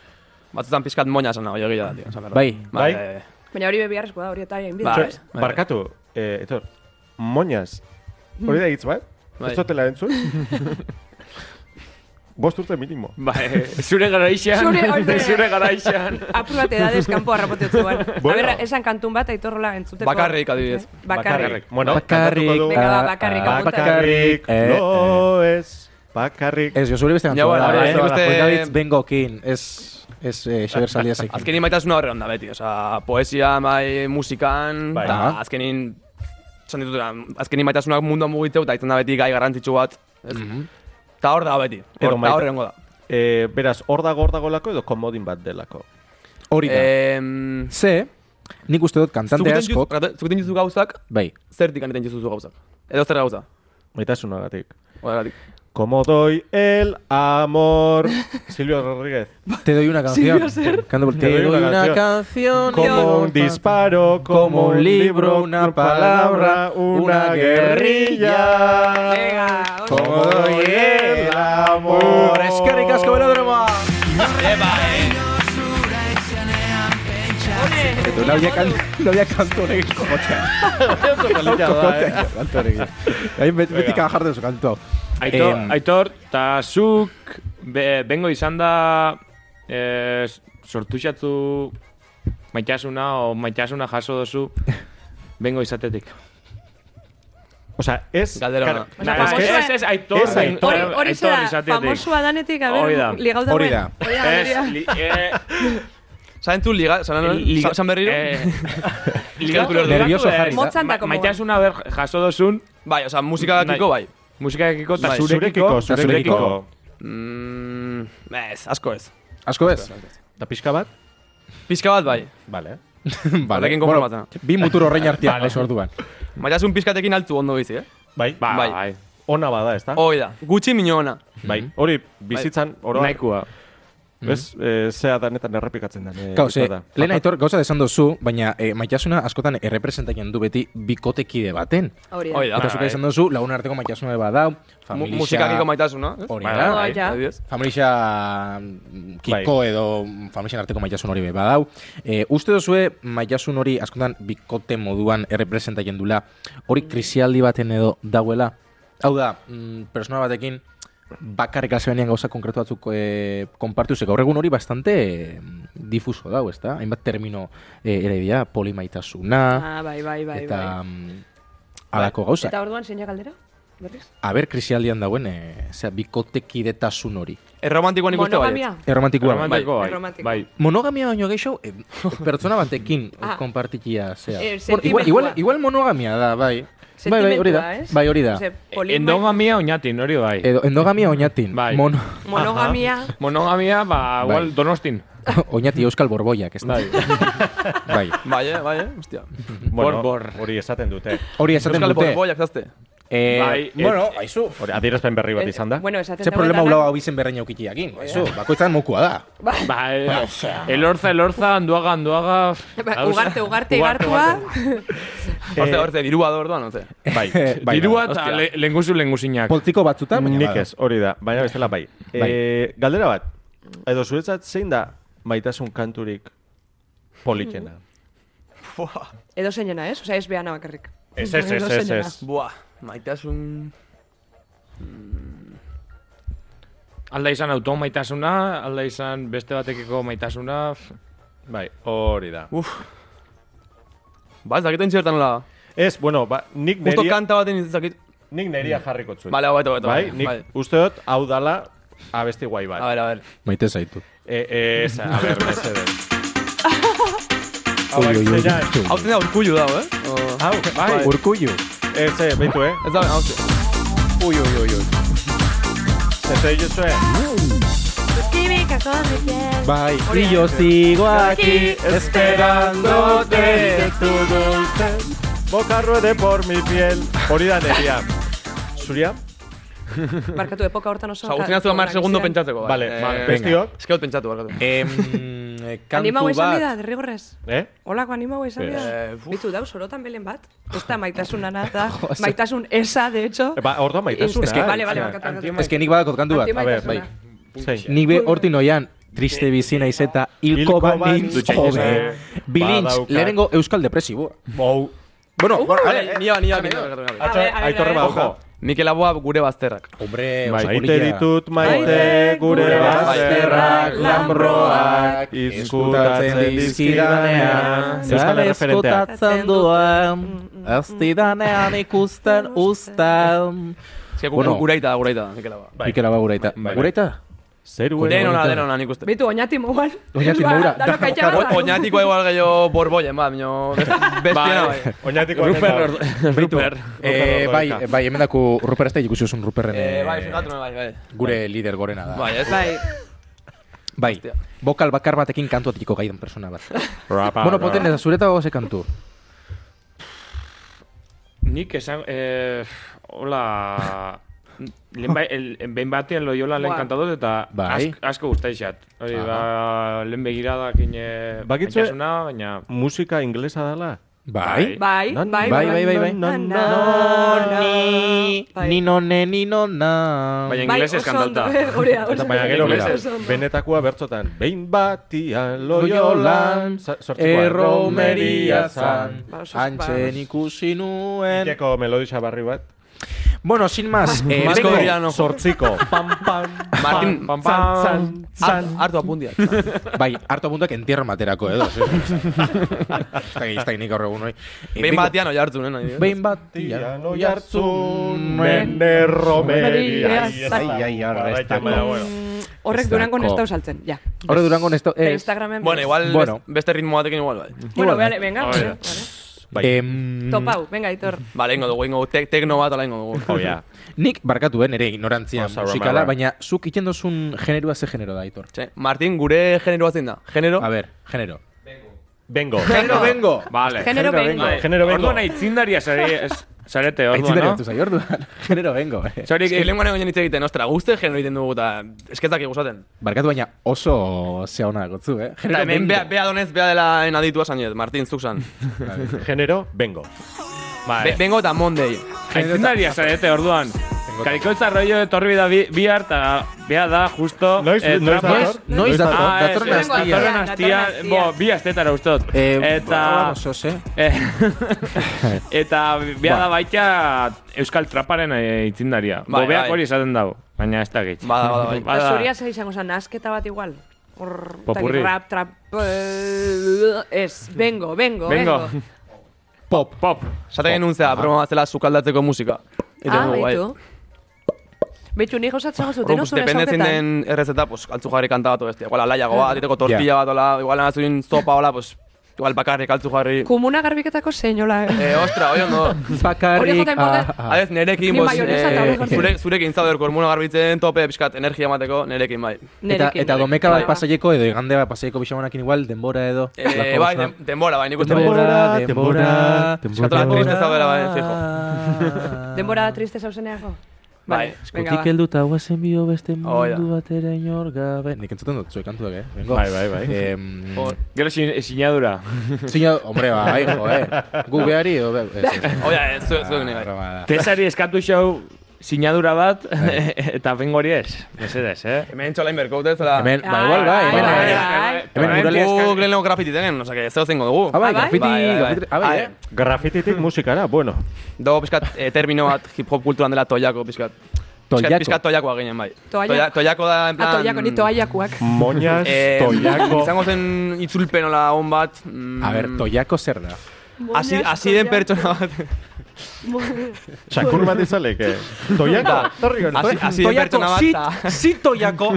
Batzutan pizkat moña esan nago, egia da, tio. esan behar da.
Bai.
Bai.
bai,
Baina hori bebiarrezko da, hori eta egin
Bai.
bidea, ez?
Bai. Barkatu, eh, etor, moñaz. Hori da hitz, bai?
Bai.
Ez dutela entzun? Bost urte minimo.
Bai, zure garaixean.
Zure,
Bai.
oide.
Zure garaixean.
Apur bat edadez kanpo harrapotetzu bar.
Bueno.
A ber, esan kantun bat aitorrola entzuteko.
Bakarrik, adibidez.
Eh? Bakarrik.
Bueno,
Bakarrik,
kantatuko du.
Venga, ba, bakarrik,
ah,
apunta.
Bakarrik,
Eh,
lo ez, bakarrik.
Ez, jo, zure beste
Ja,
kantua
bueno,
da,
hori,
eh?
hori,
beste-
David bengokin, ez, ez, eh, Xabier Zaldiasek.
Azkenin maitasuna horre onda beti, osea, poesia, bai, musikan,
Bai.
eta
Aha.
azkenin, esan ditut, azkenin maitasunak mundua mugitzeu, eta izan da beti gai garrantzitsu bat. ez? Eta hor da beti,
Edo
hor
maita-
da hor egongo da.
Eh, beraz, hor dago hor dagolako edo komodin bat delako.
Hori da.
Em,
Ze, nik uste dut kantante
zuketen juzu-
askok,
barkatu, zuketen juzu gauzak,
bai,
zertik aneten juzu gauzak. Edo zer gauza.
Maitasunagatik.
Horregatik.
Como doy el amor. Silvio Rodríguez.
te doy una canción. Canto por- Te doy una canción.
Como un disparo, como un libro, una palabra, una guerrilla.
Venga, ondo.
Como doy el amor.
Por eskerrik asko belodroma! Edo, laudia kan- laudia kantu honekin kokotean.
eh.
Kokotean, kantu honekin. Hain bet- beti kan jartzen zu kantu hau.
Aitor,
Em.
Aitor, ta zuk be, bengo izan da eh, sortuxatu maitasuna o maitasuna jaso dozu bengo izatetik.
O sea, es.
Galdera
claro,
ona.
Baina
Na, ez,
famosua-
ez, ez, Aitor,
Ez Aitor.
Hori, hori
Aitor
zera,
izatetik.
famosua danetik, a
Hori da.
ber, ligau dagoen.
Hori da.
Hori da, hori da.
Ez, li, eh,
Zaren zu liga, zaren liga, zan berriro?
eh, ligatu
Nervioso
ligatu ez.
jarri da.
Motzan da,
Ma-
como-
Maitasuna ber jaso dozun,
Bai, osea, musikakiko bai.
musikakiko eta
Bai,
zurekiko.
Zurekiko, zurekiko.
Mm, ez, asko ez.
Asko ez?
Da pixka bat?
Pizka bat bai.
Vale.
Vale.
Horrekin konformatzen.
bi mutur horrein artean, oso orduan.
Eh, Maitasun pizkatekin altu ondo bizi, eh?
Ah.
Bai.
Ba,
Bai.
bai.
Ona bada, ezta?
Hoi da, gutxi mino ona.
Bai. Hori, bizitzan, oroa.
Nahikoa.
Mhm.
Ez, e, zea danetan errepikatzen den. E,
Gauze,
da.
lehen aitor, gauza esan duzu, baina eh, maitasuna askotan errepresentatzen du beti bikotekide baten.
Hori
Hoi
da.
da.
Eta zuka Ba, esan duzu, lagun arteko maitasuna beba dau,
Mu-
familia...
Musikakiko maitasuna. ez?
Hori
Bai,
da.
bai, Ja.
Adibidez.
Familia mm, kiko edo familia arteko maitasun hori beba dau. E, uste duzue maitasun hori askotan bikote moduan errepresentatzen dula. Hori
Mm.
krisialdi baten edo dauela. Hau da, mm, persona batekin bakarrik hasi benean gauza konkretu batzuk e, konpartuz. Gaur egun hori bastante e, difuso dau, ezta? Hainbat termino e, ere dira, polimaitasuna,
Ah, bai, bai, bai,
eta
bai.
mm, halako gauza.
Eta orduan zeina galdera? Berriz?
Aber krisialdian dauen, e, zera, bikotekidetasun hori.
Erromantikoan ikuste bai.
Monogamia?
Erromantikoa.
Romantiko, bai.
Romantiko.
bai.
Monogamia baino gehiago, eh, pertsona batekin
Ah.
konpartitia zea.
Eh,
Bueno, igual, igual,
sentimentua.
igual monogamia da, bai. Bai, bai, hori da.
Sentimentua, ez?
Bai, hori da.
Ose,
E,
polima-
Endogamia oinatin, hori bai.
Edo, endogamia oinatin.
Bai.
Mono,
Monogamia.
Monogamia, ba,
Bai.
igual, donostin.
oinati euskal borboiak, ez da.
Bai.
bai.
Bai, eh, bai, eh, hostia.
Ah, Bueno,
bor,
Hori esaten dute.
Hori esaten
Euskal
dute.
borboiak zazte.
Eh,
Bai,
bueno, aizu.
Hori, adierazpen berri bat izan da.
Eh, Bueno, esaten
Ze
dago
problema
dana-
hula hau izen berreina ukitiakin.
Bai,
Aizu, bakoitzan mokua da.
Bai, elorza, elorza, anduaga, anduaga...
Ba,
Hauza.
Ugarte, ugarte, igartua.
Hortze, hortze, dirua da orduan, hortze.
Bai.
Eh, bai,
Dirua
bai.
eta
Hostia.
le- lenguzu lenguzinak.
Poltziko batzutan, baina
Nik
bada.
ez, hori da. Baina bestela bai.
Bai.
E, galdera bat. Edo zuretzat zein da maitasun kanturik politena?
Edo zeinena, ez? Osa, ez behana bakarrik.
Ez, ez, ez,
Edo
ez,
zeinena.
ez.
Buah, maitasun...
Alda izan auto maitasuna, alda izan beste batekiko maitasuna...
Bai, hori da.
Uf. Ba, ez dakit entzi bertan nola.
Ez, bueno, ba, nik
Justo
neria,
kanta baten ez dakit.
nik neria jarriko zuen.
Bale, hau beto, beto.
bai, nik
Vale.
uste dut, hau dala abesti guai
A
bat.
ber, a ber.
Maite zaitu.
E, ez, a ber, mesedez. Hau,
Ui, ui, ui.
zeina ez.
Hau zen da urkullu dago, eh? O-
Hau, bai,
Urkullu.
ez, ez, beitu, eh?
Ez da, hau zen.
Ui, ui, ui, ui.
Ez, ez, ez, ez.
Bai. Y yo sigo aquí esperándote.
tu dulce boca ruede por mi piel. Hori da neria. Zuria?
Barkatu, epoka hortan oso...
Osa, guztien aztu amar segundo pentsatzeko, bai.
Vale, vale, Eh,
Eh,
bestiok,
Ez que hau pentsatu, barkatu.
Em,
Anima
kantu
izan
bat.
dira, derrigorrez.
eh?
Olako anima hau izan dira.
Eh, fu.
Bitu, dau, sorotan belen bat. Ez da maitasun anata, maitasun esa, de hecho.
Ba, orduan maitasuna.
Es que-
Bale, bale,
eh?
barkatu. barkatu.
Ez que nik badakot kantu
A
bat.
ber,
Antimaitasuna.
bai. Zein.
Nik be horti noian, triste bizi naiz eta hilko
Hilko
bat
bat
nintz
dutxain
jobe.
esan.
Bilintz,
Badaukat.
lehenengo euskal depresiboa.
Bou.
Bueno,
Vale, Uh, eh,
eh.
nia, nia, nia, barkatu, barkatu.
Atzo,
A ber, a ber,
aitorre
a ber.
bajo.
Mikel Aboa gure bazterrak.
hombre, oso
Bai, Maite
polilla.
ditut maite
Maite
gure
gure
bazterrak
bazterrak,
lambroak
lanbroak,
izkutatzen dizkidanean Euskal erreferentea
Ezkutatzen dudan,
aztidanean ikusten ustan.
Ez que gu-
Bueno.
gureita da, gureita da, Mikel Aboa.
Mikel Aba gureita.
Bai, bai.
Gureita?
Zeruen
Denona,
bonita.
denona, nik uste.
bai. Bitu, oñati moguan.
Oñati
Ba,
mogura.
danok aitxaba
O-
da.
Oñatikoa igual gehiago borboien, ba, baino bestiena bai.
Oñatiko
Ruper. Eh,
Ruper
bai,
Ordorika.
bai, hemen daku Ruper ez da ikusi osun Ruperren
Eh,
eh,
bai, fijatu, bai, bai.
gure lider gorena da.
Bai, ez.
Bai,
Bai,
Hostia.
bokal bakar batekin kantu atikiko gaidan persona bat. bueno, poten ez azureta goze kantu.
Nik esan... Eh, hola... Lehen bai, el- behin batien loiola lehen
Buah.
kantadot eta
Bai.
ask- asko gustaixat. Hori da, lehen begirada kine
Bakitxue-
maitasuna, baina...
Musika inglesa dala?
Bai.
bai,
Nan-
bai,
bai, bai, bai, bai.
nan-
No,
nan- Bai.
Ni none, ni nona.
Baina
Bai,
inglesez
oso ondo,
kantauta.
eh, hori da,
Eta
oso
baina
ondo,
gero
Inglesez.
beste,
oso ondo.
benetakoa bertzotan. Behin batian loiolan, sa-
Eh,
eh, sortzikoa.
erromeria zan,
Ba, oso-
antxen
ba.
ikusi nuen.
Ikeko melodisa barri bat.
Bueno, sin más, eh,
Marco
bengo-
Brian. Iriano.
Sortziko. Pam, pam,
Martin-
pam, pam, zan, zan,
Har- Hartu apuntia.
bai, hartu apuntak entierro eh, materako edo. Ez da, ez da, nik horregun hori. Eh,
Behin
bengo-
batean oi hartu, nena.
Behin bat,
Tiano jartzun, mene romeria.
Ai,
ai, arre, ez da-
Baina, bueno.
Mm, Horrek
Ez dako.
durango nestau saltzen, ja.
Horre durango nesto...
Pero
Ez,
Instagramen...
Bueno, igual
Bueno.
best- beste ritmo batekin igual, bai.
Bueno,
Igual.
vale, venga.
Hori da.
vale, vale.
Bai.
em,
Topau, venga, Aitor.
Bale, ingo dugu, ingo tekno bat ala ingo dugu.
Oh, ja.
Nik barkatu, eh, nere ignorantzia
Osa,
musikala,
ramara.
baina zuk iten duzun generoa ze genero da, Aitor.
Che, Martin, gure generoa zein da? Genero?
A ber, genero. Ba,
Bengo.
Genero, bengo!
Vale.
Genero bengo.
Genero bengo.
Orduan aitzindaria zari... ez- Zarete
Aitzin
orduan,
derivatu
no?
zai, orduan. Genero bengo, eh.
Zorik,
Eske lenguan egon hitz egiten, ostra, guzti genero egiten dugu eta esketak iguzaten.
Barkatu baina oso zea hona gotzu, eh.
Eta
Genero bengo.
hemen bea, bea donez, bea dela enaditua zainet, Martin, zuk zan.
Genero, bengo.
Be,
Bai.
bengo eta Monday.
Aitzindaria zarete orduan. Karikoitza rollo etorri da bi- bihar, eta bea da, justo...
Noiz-
eh,
noiz
trapas-
dator?
Noiz
dator?
dator,
Ah, ez,
datorren Eh,
ez,
astean.
datorren astean,
Datorren
bo,
astean.
bi astetara ustot. Eta...
vamos, Jose.
Eh, eta bea
Ba.
da baita Euskal Traparen eh, itzindaria.
Bai,
Bobeak
bai.
hori izaten dago, baina ez da gehi.
Bada, bada, bai.
Ba, zuria ze izango zen, nasketa bat igual. Hor,
Popurri.
taki rap, trap, eh, ez, bengo, bengo,
Bengo.
bengo.
Pop.
Pop.
Zaten genuen zea, broma bat zela sukaldatzeko musika. Eta
Ah,
dugu, bai.
baitu. Beitu, nik osatzen gozu,
Orduan,
deno
pues,
zure
dependetzen
sautetan.
den errezeta, pues, altzu jarri kanta bat bestia. Igual, alaiago bat,
Ah.
diteko tortilla bat, hola, igual, anazuin zopa, hola, pues, igual, bakarrik altzu jarri.
Komuna garbiketako zeinola. eh.
Eh, ostra, oi ondo.
Hori
Bakarrik.
joten bota-
ah, ah.
Adez, nerekin,
Ni
pues,
mayonesa eta
eh,
bai, hori
zure, zurekin zaude hormona garbitzen, tope, pixkat, energia emateko, nerekin, bai.
Eta,
Nerekin.
eta domeka bat
Ba.
pasaieko edo igande bat pasaieko bisamanekin igual, denbora edo.
Eh,
Lako
bai,
gauza.
den- denbora, bai, nik uste bai.
denbora,
Denbora,
denbora,
denbora,
Eskatola triste zaudela, bai, fijo.
Denbora triste zauzeneako?
Bai,
venga, ba.
helduta guazen bio beste
Hoi da.
batera inor gabe. Nik entzuten dut, zuek kantuak, eh? Bengo.
Bai, bai, bai.
Em,
Hor.
Gero sin, sinadura.
Zina, hombre, bai, jo, eh. Gu behari, edo, be- ez, ez.
Oia, ez, zuek zuek nahi, bai.
Broma da.
Tesari eskatu xau sinadura bat,
Bai.
eta bengo hori ez. Mesedez, eh?
Hemen txolain berko, dut, zela.
Hemen, ba,
Ai,
igual, bai,
ai,
hemen,
ai,
eh.
ai.
Hemen
Hemen
murales-
guk lehen lego grafiti tenen, osea, que zeo zengo dugu.
Ah, bai,
Ah, bai?
grafiti,
Bai, bai, bai.
grafiti, ah, bai,
Ah,
eh.
eh.
Grafititik musikara, bueno.
Dago pixkat eh, termino bat hip-hop kulturan dela toiako, pixkat. Pixkat,
Toiako.
pixkat toiakoa ginen, bai.
Toiako.
Toia- Toiako da, en plan...
Ah, toiako, ni toaiakuak.
Moñas,
Eh,
toiako.
Izango zen itzulpen hola hon bat. mm,
A ver, toiako zer da?
Así, así den pertsona bat.
Txakur bat izalek, eh? Toiako,
Da.
torri gero.
Así, así den pertsona bat. ta-
sit toiako,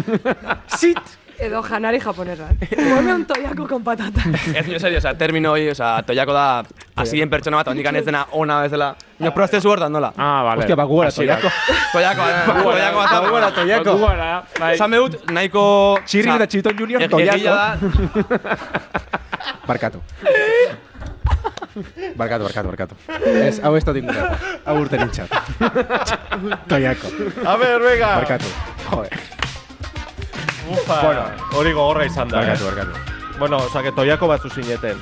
sit.
Edo janari japonesa. Hueme un toiako con patata.
Ez nio serio, osea, termino hoi, osea, toiako da... Así den pertsona bat, ondikan ez dena ona bezala. Nio prozesu hortan nola.
Ah, vale.
Hostia, ba, gugara toiako.
Toiako, toiako bat.
Ba, gugara toiako.
Gugara, bai.
Esan behut, nahiko...
Txirri
osea,
eta txiton junior
ege- egia
toiako.
da,
Barkatu. Barkatu, barkatu, barkatu. Ez, hau ez dut inguratu. Hau urte nintxat. Toiako.
A ver, venga.
Barkatu. Joder,
Ufa. Bueno, hori gogorra izan da.
barkatu,
eh?
barkatu.
Bueno, osea, que toiako batzu zineten.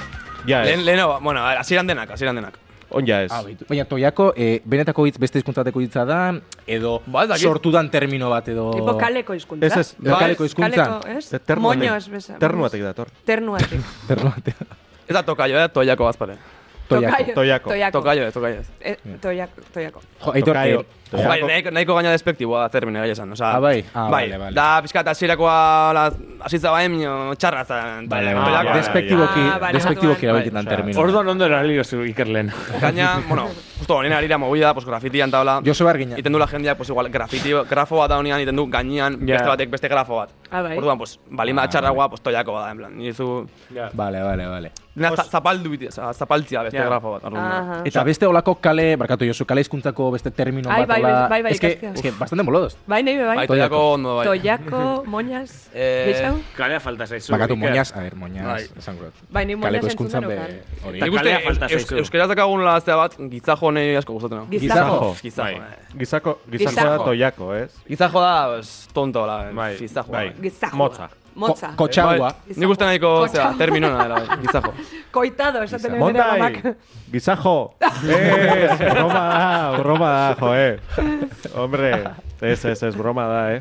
Ja,
Lehen,
ez.
lehenago, bueno, a ver, hasieran denak, hasieran denak.
On ja ez.
Baina toiako, eh, benetako hitz beste hizkuntza bateko hitza da, edo
Ba, ez dakit.
sortu dan termino bat edo...
Tipo kaleko izkuntza.
Ez, ez.
Edo
Ba,
kaleko
ez,
hizkuntza.
Kaleko, ez?
Ze ternoatik-
Moño ez beza.
Ternuatik dator.
Ternuatik.
Termino batean.
Ez da tokaio, eh, toiako bazpare.
Toiako.
Toiako.
Toiako.
Tokaio ez, tokaio ez.
Eh, Toiako. Toiako.
Jo, Aitor,
Tokaio.
eh,
Toiako.
Bai, nahiko, nahiko gaina despektiboa da termina gaia esan, oza...
Ah, bai? Ah, vale, vale.
Da, pizkat, hasierakoa, la, hasitza bain, mino, txarra zan,
Vale,
toiako-
vale.
Ah,
Despektiboki,
Ah, vale,
despektiboki
batuan.
erabiltzen dan termino.
Orduan ondo erabilio zu Ikerlen.
Gaina, bueno, justo honen arira movida, pues grafitian taula...
Josu Bargina.
Iten du la jendeak, pues igual, grafiti, grafo bat da honean, iten du gainean,
Ja.
beste batek beste grafo bat.
Ah, bai.
Orduan, pues, balima txarragoa, pues toiako bada, en plan, nizu...
Vale, vale, vale.
Dena za- zapaldu, bit- za- zapaltzia beste
Ja.
grafo bat, orduan.
Aha.
Eta beste olako kale, barkatu Josu, kale hizkuntzako beste termino
Ai,
bat.
bai,
hola-
bai, bai,
es que,
ikastea.
es que bastante molodos.
Bai, nahi be,
Bai,
bai.
toiako ondo, bai.
Toiako, moñaz,
Eh,
gehiago?
Kalea falta zaizu.
Bakatu
Iker.
moñaz, a ver, moñaz,
Bai.
esango dut.
Bai, ni moñaz
Kaleko
entzun
hizkuntzan be
denokan.
hori.
Eta
Nik uste,
kalea falta
eus-
zaizu.
euskeraz dakagun laztea bat, gitzajo nahi asko gustatzen hau.
Gizajo.
Gizajo.
Gizajo,
Bai.
eh.
Gizako, gizako
Gizajo.
da toiako, ez?
Gizajo da, pues, tonto, la,
Bai,
gizajo.
bai.
Gizajo.
Motza.
Motza.
Ko- kotxaua.
Bai, Nik uste nahiko, ozera,
Kotxaua.
terminona dela, bai, gizajo.
Koitado, esaten nire nire
Montai!
amak.
Gizajo! Ez, broma da, broma da, joe. Hombre, ez, ez, ez, broma da, eh.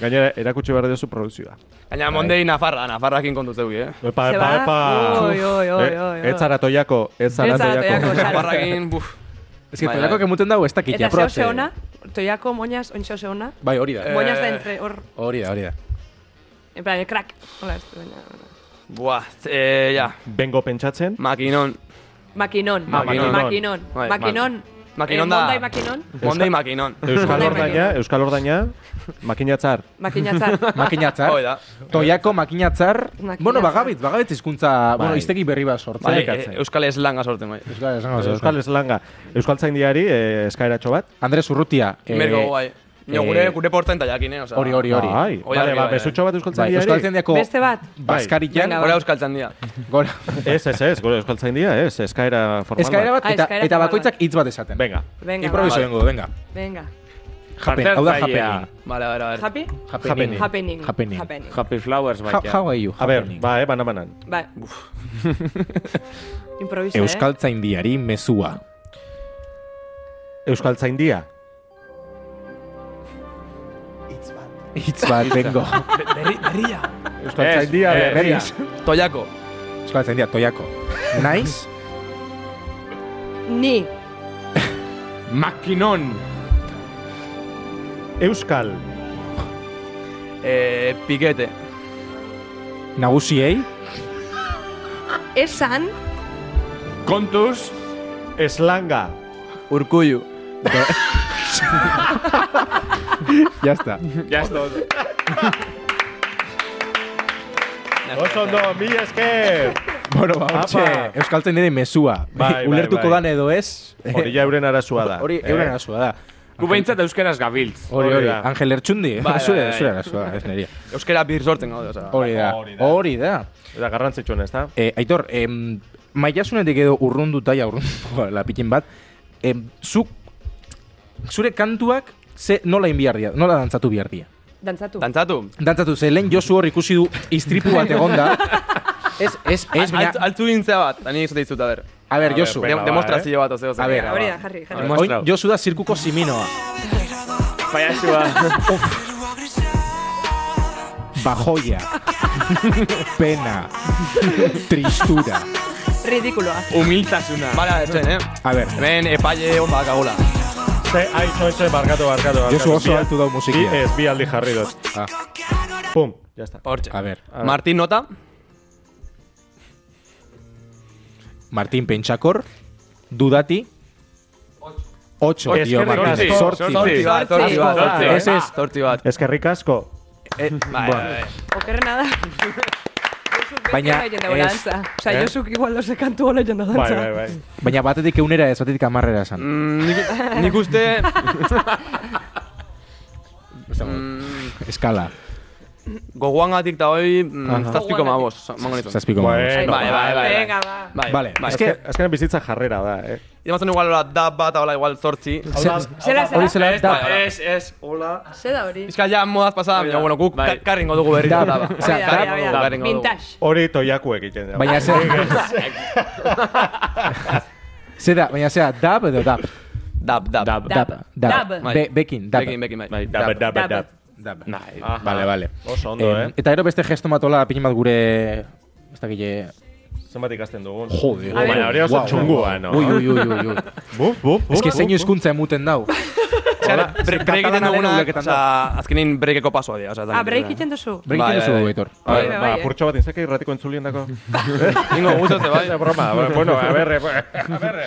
Gainera, erakutsi behar diozu produkzioa.
Gaina, mondei Nafarra, Nafarrakin kontutzeuk, eh?
Epa,
Se
epa,
va.
epa!
Oi, oi, oi,
Eh,
oi, oi.
Ez zara toiako, ez zara
Ez zara toiako,
toiako.
Claro.
Nafarrakin, buf.
Es que
Bai,
pelako
bai.
kemunten dago ez dakit.
Eta
ja, probatze.
zehose ona, toiako, moñaz, ontxe zehose ona.
Bai, hori da.
Eh.
Moñaz da entre, hor,
Hori da, hori da.
en plan, el crack. Hola, esto, baina-
Buah, eh, ja,
Bengo pentsatzen,
makinon.
Makinon.
Ah,
Makinon.
Makinon. Makinon.
Bai,
Makinon.
Makinon
Eh,
da-
Montai makinon.
Mondei makinon.
Euskal
Montai
Ordaina,
makinon.
Euskal Ordaina, makinatzar.
Makinatzar.
Makinatzar.
Hoi da.
Toiako makinatzar.
Makinatzar.
Bueno, bagabit, bagabit hizkuntza, bueno, iztegi berri bat sortzen
Bai,
ekartzen. Eh,
eh, euskal eslanga sorten, bai.
Ah, Euskal, esango duzu.
Euskal Eslanga, Euskal Zaindiari eh, eskaeratxo bat.
Andres Urrutia. eh,
Mergo, bai. Nio, gure, gure portzenta jakin, eh? Osa,
Hori, hori, hori.
Bai,
Oi,
bale,
argi,
ba,
bai,
besutxo bat
Bai,
euskaltzaindiari.
Euskal Zendiako
Beste bat.
Bai.
Baskarikian,
Venga,
Gora euskal txandia.
gora.
Ez, ez, ez, gure euskaltzaindia, ez, eskaera formal.
Eskaera bat,
Ah,
eta,
eskaera
eta
formal
bakoitzak hitz bat esaten.
Venga.
Venga,
Improviso
ba.
dengo, venga.
Venga.
Japen, hau da japening.
Bale, bale, bale.
Happy?
Happening.
Happening.
Happening.
Happy Flowers, bai.
Ha- How are you?
A ber,
Happening.
ba, eh, banan-banan.
Bai. Improvisa, eh?
Euskal Zaindiari mezua.
Euskaltzaindia.
Hitz bat dengo.
Berria.
Euskal Zaindia,
Ez,
berriz.
Toiako.
Euskal Zaindia, toiako. Naiz,
Ni.
Makinon.
Euskal.
Eh, pikete.
nagusiei,
Esan.
Kontuz.
Eslanga.
Urkullu.
ya está.
Ya está.
Oso ondo, mi esker!
Bueno, ba, hortxe,
Apa.
Euskal Zaindiari mezua.
Bai, bai,
Ulertuko
bai.
dan edo ez?
Hori ja euren arazoa da.
Hori,
Eh,
euren asua da.
Gu behintzat euskeraz gabiltz.
Hori,
Hori
hori.
da.
Angel Ertsundi.
bai,
Zure,
bai.
zure arasua, ez neria.
Euskera bir sortzen gaude, osa.
Hori da.
Hori da.
Hori da.
Eta garrantzitsuena, ez da?
Eh, Aitor, em, maitasunetik edo urrunduta, ja urrundu, lapitin bat, em, zuk, zure kantuak ze nola inbiar dia, nola dantzatu bihar dia?
Dantzatu.
Dantzatu.
Dantzatu, ze lehen Josu hor ikusi du istripu bat egonda. Ez, ez, ez, baina...
Alt- Altzu gintzea bat, da nik izut, a ber.
A ber,
A
Josu.
ber, Venga,
Dem-
ba,
Demostrazio bat, ozeo.
eh. A ber,
Venga, Hori da, jarri, jarri.
Oin, Josu da zirkuko siminoa. Bajoia. Pena. Tristura.
Ridikuloa.
Humiltasuna.
Bala, etzen, eh?
A ber,
Hemen epaile hon bakagola.
Ze, aizu, aizu, barkatu, barkatu. barkatu.
Josu oso
Bi-
altu dau musikia.
Bi, ez, bi aldi jarri dut.
Ah.
Pum, ya está.
Hortxe.
a ber.
Martin Nota.
Martin Pentsakor. Dudati. Ocho, tío,
Eskerrik
Martin.
asko.
Zortzi.
Zortzi.
Zortzi bat, zortzi bat.
Zortzi,
zortzi,
eh?
Ez, ez. Zortzi bat.
Eskerrik asko.
Eh, Bai, bai, bai.
Okerrena da.
Baina, ez.
Osa,
Eh?
Josuk igual dose kantu hola jende dantza.
Bai, bai, bai.
Baina batetik eunera ez, batetik amarrera esan.
Mm, nik- Nik uste... Mm,
Eskala.
Gogoan gatik eta hoi mm,
Aha.
zazpiko mabos, mango nituen.
Zazpiko
Bueno.
bueno.
Bai, bai, bai, bai.
Venga, ba.
Bai,
Vale,
bai.
Azken-
eske-
Azkenan bizitza jarrera da, eh?
Idamazten igual hola da bat, hola igual zortzi.
Zera,
Hori zela
zera.
Ez,
da.
ez, ez, hola.
Zera hori.
Bizka ja modaz pasada, baina bueno, guk
Bai.
ka- karringo dugu berri.
Da,
da, ba.
o sea,
Hori da,
da-
hori da,
da-
hori da. Vintage.
Hori toiakuek egiten da.
Baina ze... Zera, baina zera, dab edo dab.
Dab, dab.
Dab.
Dab. Dab.
Dab.
Bai.
Be, bekin, dab.
Bekin, bekin, bai.
Bai,
Dab, dab, dab,
Dab.
dab.
Dab.
Nahi.
Aha.
Vale, vale.
Oso ondo, eh?
Eta ero beste gesto matola pin bat gure... Ez eh, dakile...
Zenbat ikasten dugun.
Jode.
A ver.
Baina hori oso
Guau.
txungua, no?
Ui, ui, ui, ui, ui.
Buf, buf, buf.
Ez que zein
buf,
hizkuntza emuten dau.
Zer, bre-
katalana
break egiten
lehen
duguna,
ulerketan
oza, azkenin breakeko pasoa dira.
Ah, break iten duzu.
Break
Bai,
egiten duzu,
bai, bai.
Aitor.
buf. A ver,
Bai, bai,
ba,
eh.
purtxo bat inzake irratiko entzulien dako.
Ingo, guztotze, bai.
Esa broma, ba, bueno, a ver, a ver.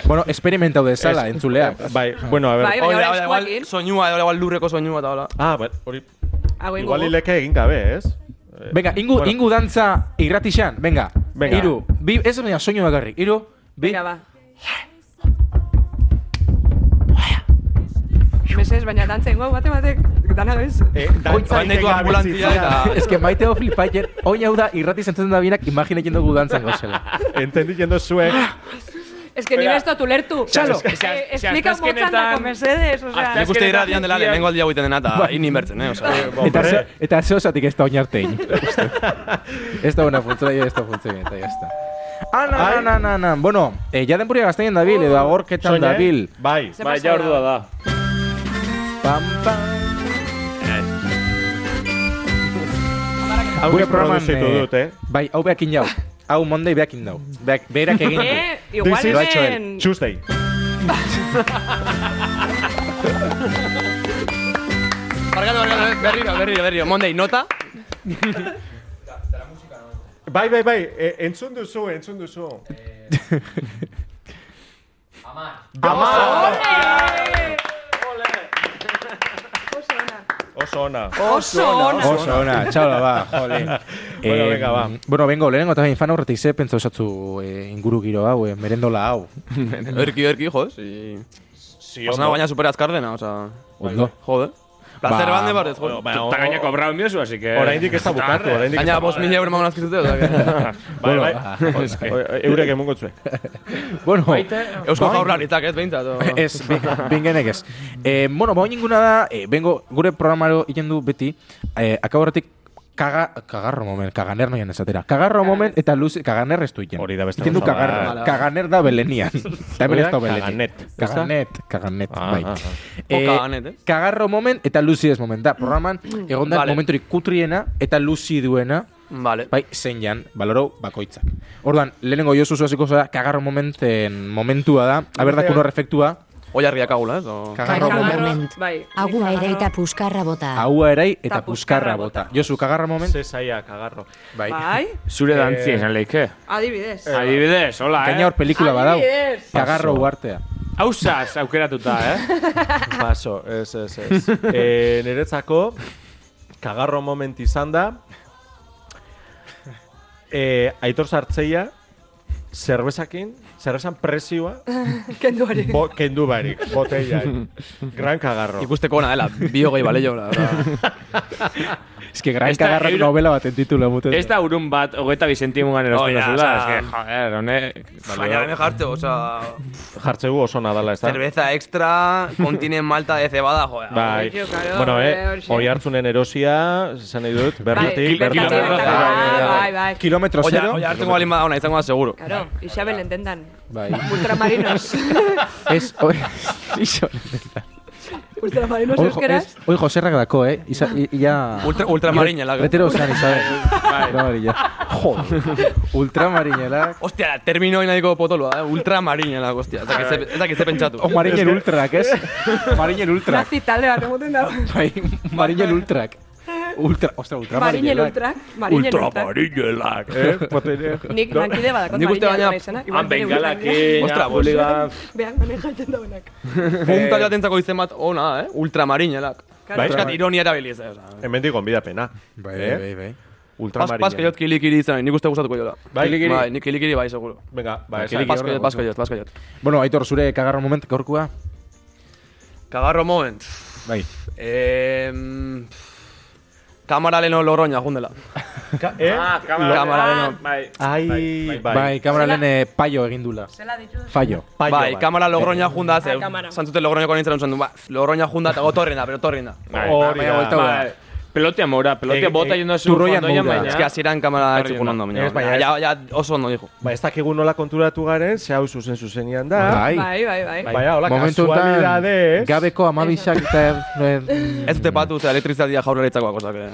Bueno, esperimentau dezala, entzulea.
Bai, bueno, a
Bai,
ver.
bai. ahora
Hori da, hori da, igual
eskuakin.
soinua, hori da, igual lurreko soinua eta hola.
Ah, bai, hori.
Hau ingo.
Igual hileke egin gabe, ez? Eh,
Venga, ingu,
bueno,
ingu dantza irratixan, venga.
Venga.
Iru, bi, ez baina soinu bakarrik. Iru, bi,
Venga, ba. Meses, baina dantza ingo, bate batek. Dana bez.
eh, dantza
Joan ditu
egin gabe
ambulantzia
bizitzea.
eta...
Ez que maite hau flipaien, oin hau da irrati zentzen da bienak imaginekin dugu dantzan gozela.
Entendi jendo zuek.
Es que ni
Espera.
besto tu lertu.
Txalo.
Es que,
Si az- si
Explica motzan
azterkenetan-
dako, mesedes, osea.
Azter-
Nik uste dira dian dela lehenengo aldia egiten dena eta inin bertzen, eh? Osa,
Eta,
Hombre.
ze, eta ze osatik ez da oinartein. ez da una funtzuela, ez da funtzuela, eta ya está. Ah, na, na, na, na, na. Bueno, eh, ja denpuria gazteien dabil,
Oh.
edo agorketan
Soñe,
dabil.
Bai.
Ze
Bai,
pasa
ja ordua
da?
da.
Pam, pam.
Hau
Gure programan...
produzitu
eh,
dut, eh?
Bai, hau behakin jau. Hau mondei behakin dau. Beak, berak egin du.
Eh, igual
This is-
en...
Lo ha hecho él. Tuesday.
Barkatu, barkatu, berriro, berriro, berriro. Monday, nota?
Bai, bai, bai, e, entzun duzu, entzun duzu. Amar. Oso ona.
Oso ona.
Oso, ona, txalo, ba, jole.
Bueno,
Eh,
venga, ba.
Bueno, bengo, lehenengo eta fan aurretik ze pentsa osatzu eh, inguru giro hau, eh, merendola hau.
Erki, erki, joz. Y...
Si
Pues Pasana baina super azkar dena, osa...
Ondo.
Jode.
Ba-
Placer ba, bande barrez,
Pues Bueno,
jo.
ba-
Eta gaineko abrau miozu, así que...
Oraindik ez da bukatu, oraindik ez
Gaina,
da
bost mila euro magon azkizute, oza, que...
Bai, bai.
ah,
Es que-
O- e- Eurek emongo txue.
Bueno,
Eusko
Bai.
jaurlaritzak, ez, behintzat. o-
Eh, Ez, be- bingenek ez. Eh, bueno, bain inguna da, eh, bengo, gure programaro egiten du beti, eh, akabarretik kaga, kagarro momen, kaganer noian ezatera. Kagarro momen eta luz, kaganer ez du egiten.
Hori da beste
Egiten du
gauza bat.
kagarro.
Hala.
Kaganer da belenian. Eta hemen
Hori
ez
da
da belenik.
kaganet, ezta?
Kaganet, kaganet,
Ah,
bai.
ah,
ah.
Eh,
O kaganet, eh?
Kagarro momen eta luzi ez momen. Da, programan, egon da
Vale.
momenturik kutriena eta luzi duena,
Vale.
Bai, zein jan, baloro bakoitzak. Orduan, lehenengo jozu zuaziko zara, kagarro momenten momentua da. Aberda, kuno refektua,
Oi harriak agula, ez? o-
kagarro
Bai,
moment,
kagarro.
moment.
bai.
Agua
Kagarro.
ere eta puskarra bota.
haua erai eta puskarra
Eta puskarra
Ah. bota.
bota.
Jozu, kagarro moment,
Ze zaila, kagarro.
bai.
Bai,
Zure dantzi, esan leike.
eh, adibidez.
Adibidez, hola, eh?
Gaina hor pelikula badau,
Adibidez.
kagarro uartea.
Hausaz aukeratuta, eh?
Paso, ez, ez, ez. e, niretzako, kagarro moment izan da, e, aitor sartzeia, zerbezakin, zerbezan presioa,
Kenduari.
bo, kendu barik, botella. Gran kagarro.
Ikusteko ona dela, eh, bio gehi baleio. la verdad.
Ez que gran
Esta
kagarro
euro-
novela baten titula muten.
Ez da urun bat, hogeita bizentimugan erosten
Oh, ja,
duzula.
osea-
Ez que, joder, hone...
Baina, hemen jarte, oza...
Jartzegu oso nadala, ez da?
Cerveza extra, kontinen malta de cebada, joder.
Bai.
Jo, claro,
Bueno,
eh,
eh,
horixe.
hori hartzunen erosia, esan nahi dut, bertatik,
Bai,
bertatik.
kilo-
bertatik.
Ah, Bai, bai.
Kilometro
Oia,
zero.
oia hartzen bali bada ona, izango da seguro.
Claro, Isabel entendan.
Bai.
Ultramarinos.
Ez, oi... Iso-
Ultramarinos
Oi, jo-
euskeraz.
ez- oi, Joserrak dako, eh? Iza, i- ia...
Ultra, ultramarinela. gero.
Retero zan, Isabel. Ultramarina. Joder. Ultramarinela.
Ostia, termino hori nahiko potoloa, eh? ultramarinela, hostia. Ez dakit ze- Ez dakit ze pentsatu.
O Marinen Ultrak, ez? Marinen Ultrak.
Nazi taldean emoten da.
Bai, Marinen Ultrak. Ultra, ostra, ultra
Marinel ultrak. Marinel ultrak.
Ultramarinelak.
Eh, botere-
Nik lankide badakot
Nik uste
Marinel
baina-
izenak, igual
Han
bere
bengalakin,
Ostra,
Ostra, boligan...
Bean, banen jaiten dauenak.
Punta joatentzako izen bat ona, eh? ultramarinelak.
Claro.
Bai, eskat ironia erabili ez da. oza.
Hemen digon bidapena.
Bai,
Eh?
bai, bai.
Pas,
Ultramarina.
pasko jot kilikiri izan, hori, nik uste gustatuko jola.
Bai, kilikiri?
Bai, nik kilikiri bai, seguro.
Venga, ba, esan.
Pasko jot, pasko jot, pasko jot.
Bueno, Aitor, zure kagarro moment gaurkoa.
Kagarro moment.
Bai.
Eh, kamara leno loroña, jundela.
Ka- eh?
Ah,
Kamara leno.
Bai.
Ai, bai.
Bai, kamera lehen eh, paio egin dula.
Zela ditu.
Fallo.
Paio
Bai,
bat.
kamara logroña junda, ze,
Ah, kamara.
santzute logroñeko nintzen untzen du, ba, logroña junda eta gotorren da, pero torren da.
Hori
baina
da.
buelta
Ba,
Bai. Pelotea mora, pelotea
Eh,
bota
eh,
yendo a su
turroian
fondoian,
moura.
Ez
baina-
que hasieran kamara
Herri
etzikun
ona.
ondo, baina,
Ez, baina
ja, ja, oso ondo dijo.
Ba, ez dakigu nola konturatu garen, ze hau zuzen zuzenean da.
Bai.
Bai, bai, bai.
Baina, Ah, hola,
Momentu honetan,
kasualidadez.
gabeko amabizak eta... eh,
Ez dute patu, ze elektrizitatea jaurlaritzakoak, osak, eh,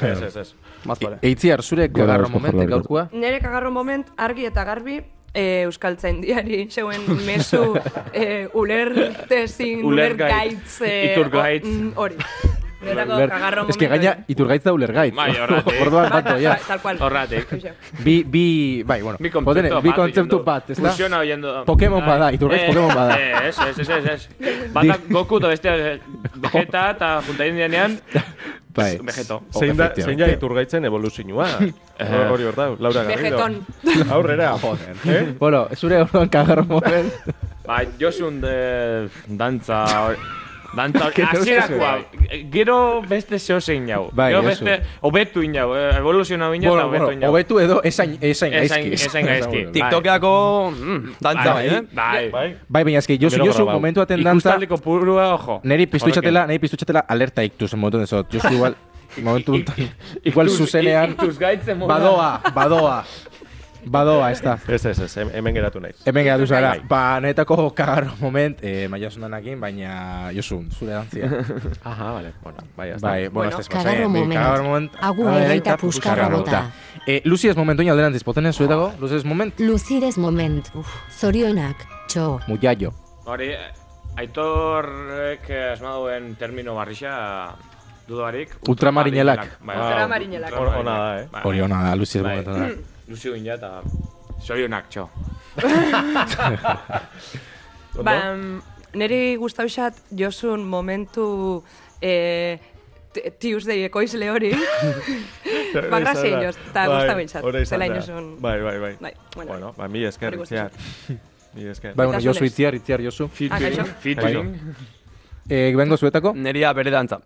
Mm. Ez, ez, ez.
maz pare.
Eitziar, zure kagarro moment gaurkoa.
Nere kagarro moment argi eta garbi eh, Euskal Tzaindiari zeuen mesu eh, ulertezin, ulergaitz,
Ulergaitz,
eh,
iturgaitz.
o- mm, hori. Nerako
Ler-
kagarro moment.
Ez que gaina iturgaitz da ulergaitz.
Bai, horregatik.
Orduan bat doia.
Tal cual.
Horratik.
Horixe.
Bi, bi, bai, bueno.
Mi
Poten-
eh. kontzeptu
bi kontzeptu bat, ez da?
Fusiona oyendo.
Pokemon bada, Iturgaiz Pokemon bada.
Eh, Ez, ez, ez, ez, ez. Bata Goku eta beste eh, Vegeta eta juntain dianean,
Bai.
Vegeto.
Zein da,
efectivamente. Eh.
zein da iturgaitzen evoluzioa. Hori hor da, Laura Garrido.
Vegeton.
Aurrera. Eh?
Bueno, zure orduan kagarro moment.
Ba, Josun de dantza hor- Dantza hor-
Que no
hasierakoa. Gero beste zeo zein jau.
Bai,
Gero
Josu.
beste hobetu inau, eh, evoluzionau inau eta
Bueno,
hobetu
bueno,
inau.
hobetu edo esain esain
Esain-
gaizki.
esain gaizki.
Bai.
TikTokeako, mm, dantza bai, eh?
Bai.
Bai.
Bai, baina eski, Josu,
Gero
Josu,
grabau.
momentu aten dantza,
Ikustaldeko purua, ojo.
neri piztu
Horrekin.
itxatela, neri piztu itxatela alerta iktuz, momentu dezot. Josu, igual, momentu untan, igual zuzenean,
Iktuz gaitze moda.
badoa, badoa, badoa, ez da.
Ez, ez, ez, hem- hemen geratu naiz.
Hemen geratu zara,
Bai.
ba, netako kagarro moment, eh, maia sunanakin, baina, Josu, zure dantzia.
Bai,
Aha, vale. Bueno, bai, ez da.
Bai, bueno, ez da.
kagarro moment.
Kagarro moment.
Agu
Ah,
ere
eta
eta puskarra bota.
Eh, Lucy ez momentu ina alderantziz, potenen
Ah.
zuetako, Lucy ez moment,
Luzides moment. Zorionak, txo.
mutiaio.
Hori, eh, aitorrek esmaduen termino barrixa dudarik.
Ultramarinelak.
Bai,
Ah,
Ultramarinelak.
hor- Ona da, eh.
Bai.
Hori ona da, Lucy ez
Bai.
momentu da.
Lucio India eta zorionak txo.
Ba, mm, niri guztausat josun momentu eh, t- Tuesday ekoizle hori. ba, gracia
Izan da.
inoz, eta
Bai,
gusta bintzat.
hori izan
Zela
da.
inozun.
Bai, bai, bai.
Bai, bueno.
Bueno, ba, mi esker,
Hori
itziar. Mi esker.
Bai, bueno,
Itzazu
Josu
lez.
itziar, itziar Josu.
Ah, kaixo.
Featuring.
Featuring.
Eh, bengo zuetako?
Neria bere dantza.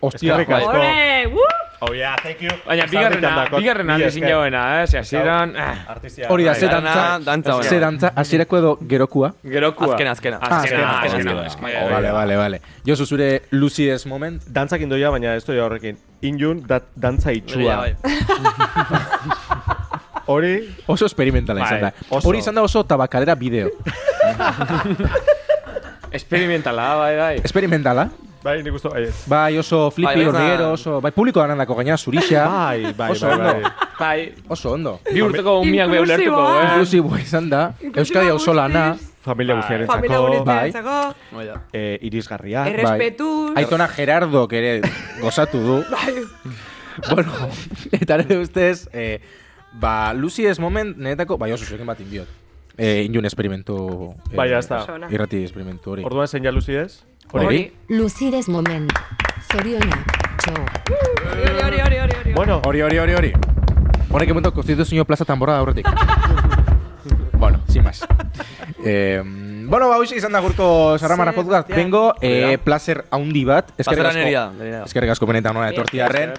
Ostia, bai.
Eskerrik asko.
Ole, uh!
Oh, yeah, thank you.
Baina, bigarrena,
Sarritan dakot.
bigarrena
Mila
ezin
esker.
jagoena, eh? Zehazieran,
Artista.
hori da,
Bai,
ze
bai.
Dana,
dantza,
dantza ona.
ze dantza, hasierako edo gerokua.
gerokua.
Azkena, azkena.
Azkena,
Ah,
azkena.
Oh, vale, vale, vale. Josu, zure Lucy ez moment,
Dantzak indoia, baina ez doia horrekin. Injun, da, dantza itxua.
Bai, bai.
Hori,
oso esperimentala izan
Bai,
da.
oso.
Hori izan da oso tabakalera bideo.
Experimentala, bai, bai.
Esperimentala,
bai, nik usto, bai, ez.
bai oso flippy,
Bai, ez da-
hornigero, oso... Bai, publiko ganandako gaina, zurixa.
Bai, bai,
Oso
bai,
ondo.
bai.
Bai,
Oso ondo.
bi urteko umiak be ulertuko,
Inklusiboa.
eh?
Inklusiboa izan da, Euskadi auzo lana,
Familia
Bai.
guztiaren
Familia
zako,
bai.
guretzako,
Bai, da.
eh, irisgarria.
Erre-
errespetuz.
aitona Gerardo ere gozatu du. bueno, eta ere ustez, eh, ba, Lucy ez moment, netako, bai, oso zurekin bat indiot. Eh, inun esperimentu... Eh,
Bai, ya está.
Ona.
Irrati esperimentu hori.
Orduan zein jaluzi ez?
Hori.
Luzires moment. Zorionak, txo.
Hori, hori, hori, hori, hori.
Bueno,
Hori, hori, hori, hori. Honek emunto konstituzio plaza tambora da horretik. bueno, sin más. eh, bueno, ba, hoxe izan da gurko Sarramara
Zer,
podcast.
ja.
Bengo, eh, placer haundi bat. Eskerrik
Plazera nerea,
asko.
nerea.
Eskerrik asko benetan ona etortiarren.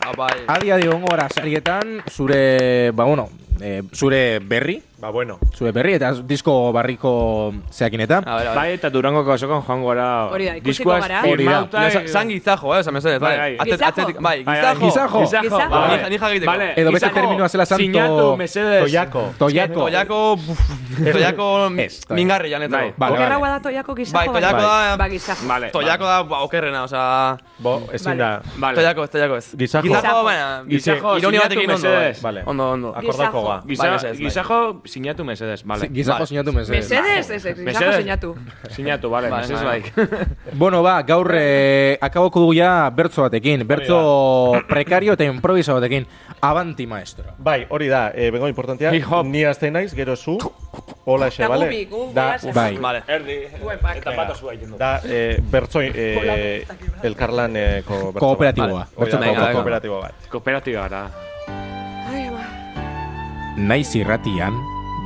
Ah, bai.
Adia de ongora sarietan, zure, ba, bueno, eh, zure berri.
ba bueno.
Zure berri eta disko barriko zeakin eta.
A ber, a
Bai,
ber.
eta Durangoko azokan joan gora.
Hori da, ikusiko
Diskoaz
gara.
Hori da.
firmauta,
Sa-
eh,
San gizajo, eh, esan mesedez,
Bai,
bai.
bai.
Atze-
Gizajo.
atzetik- Bai,
Bai,
gizajo.
Gizajo.
Gizajo.
Vale,
Bai.
nija egiteko.
Vale,
Edo beste
gizajo,
terminoa zela santo-
Sinatu, mesedez.
Toiako.
Toiako.
Toiako, buf, toiako
Ez, toiako.
mm, mingarri janetako.
Bai.
Vale, vale.
Okerragoa da toiako gizajo.
Bai, toiako
baino.
da...
Ba, gizajo.
Vale.
Toiako da, ba, okerrena, osea...
Bo, ezin
Vale.
da.
Vale.
Toiako ez, toiako ez.
Gizajo.
Gizajo,
Gizajo.
baina...
Gizajo,
Ironia
sinatu
batekin ondo,
mesedez.
bai.
Vale. Ah,
Ondo, ondo.
Akordako
Gizajo.
ga.
Giza,
Bai, mesedez, bai.
gizajo sinatu mesedez, vale.
Vale. Gizajo
Vale.
sinatu mesedez.
Mesedez, ez, ez, gizajo
Mesedez.
sinatu.
Sinatu, vale,
Vale,
mesedez
vale.
bai.
Bueno, ba, gaur eh, akaboko dugu ja bertzo batekin. Bertzo prekario eta improviso batekin. Avanti, maestro.
Bai, hori da, eh, bengo importantea.
Hip hop.
Ni azten naiz, gero zu. Hola, xe,
Da
bale?
gubi, gu
Da,
goaz-
Bai.
Vale.
Eta pato zua Da, eh, bertzoi, eh, elkarlaneko bertzo
Kooperatiboa. bai.
bat. Hori da,
Bertzo
ko-
ko-
kooperatibo bat.
Kooperatiba gara.
Ai, ama.
Naiz irratian,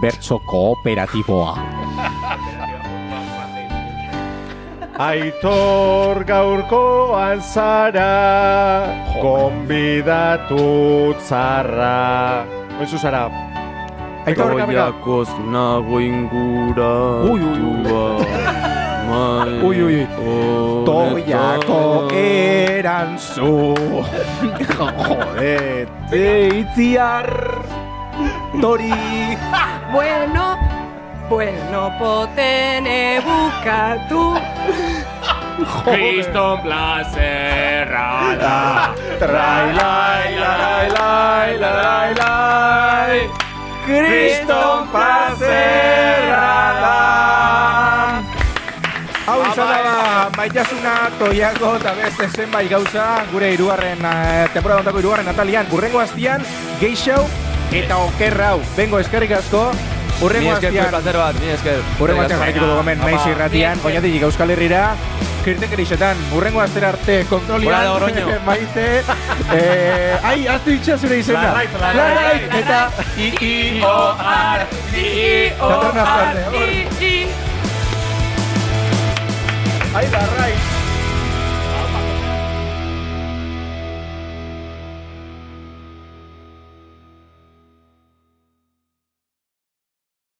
bertzo kooperatiboa.
Aitor gaurkoan zara, konbidatu zarra. Noizu zara,
Aitor, gaur-
Toiakoz nago ingura
Ui, ui, ui.
Mai
Ui, ui, ui.
honetan.
Toiako erantzu Jode Deitziar Tori
Bueno, bueno, potene bukatu.
Kriston plazerra da.
Trai, lai, lai, lai, lai, lai.
Kriston plazerra da Hau
Ba,
izan
bai.
da ba, maitasuna toiako eta beste zenbait gauza gure hirugarren eh, temporada ontako hirugarren atalian urrengo aztian geixau eta okerra hau bengo eskerrik asko
Mi
urrengo
esker, fue
aztian
placer bat, mi esker
Horrengo atxan jarraituko dugu hemen, naiz irratian, oinatik Euskal Herrira, kirtekerixetan, urrengo astera arte
Hola,
kontrolian,
Logroño.
maite, eh, ai, aztu itxea zure izena.
Larraitz, larraitz.
Larraitz, eta
I-I-O-R,
oh,
I-I-O-R.
Tatarna azte.
I, I,
Ai, larrai.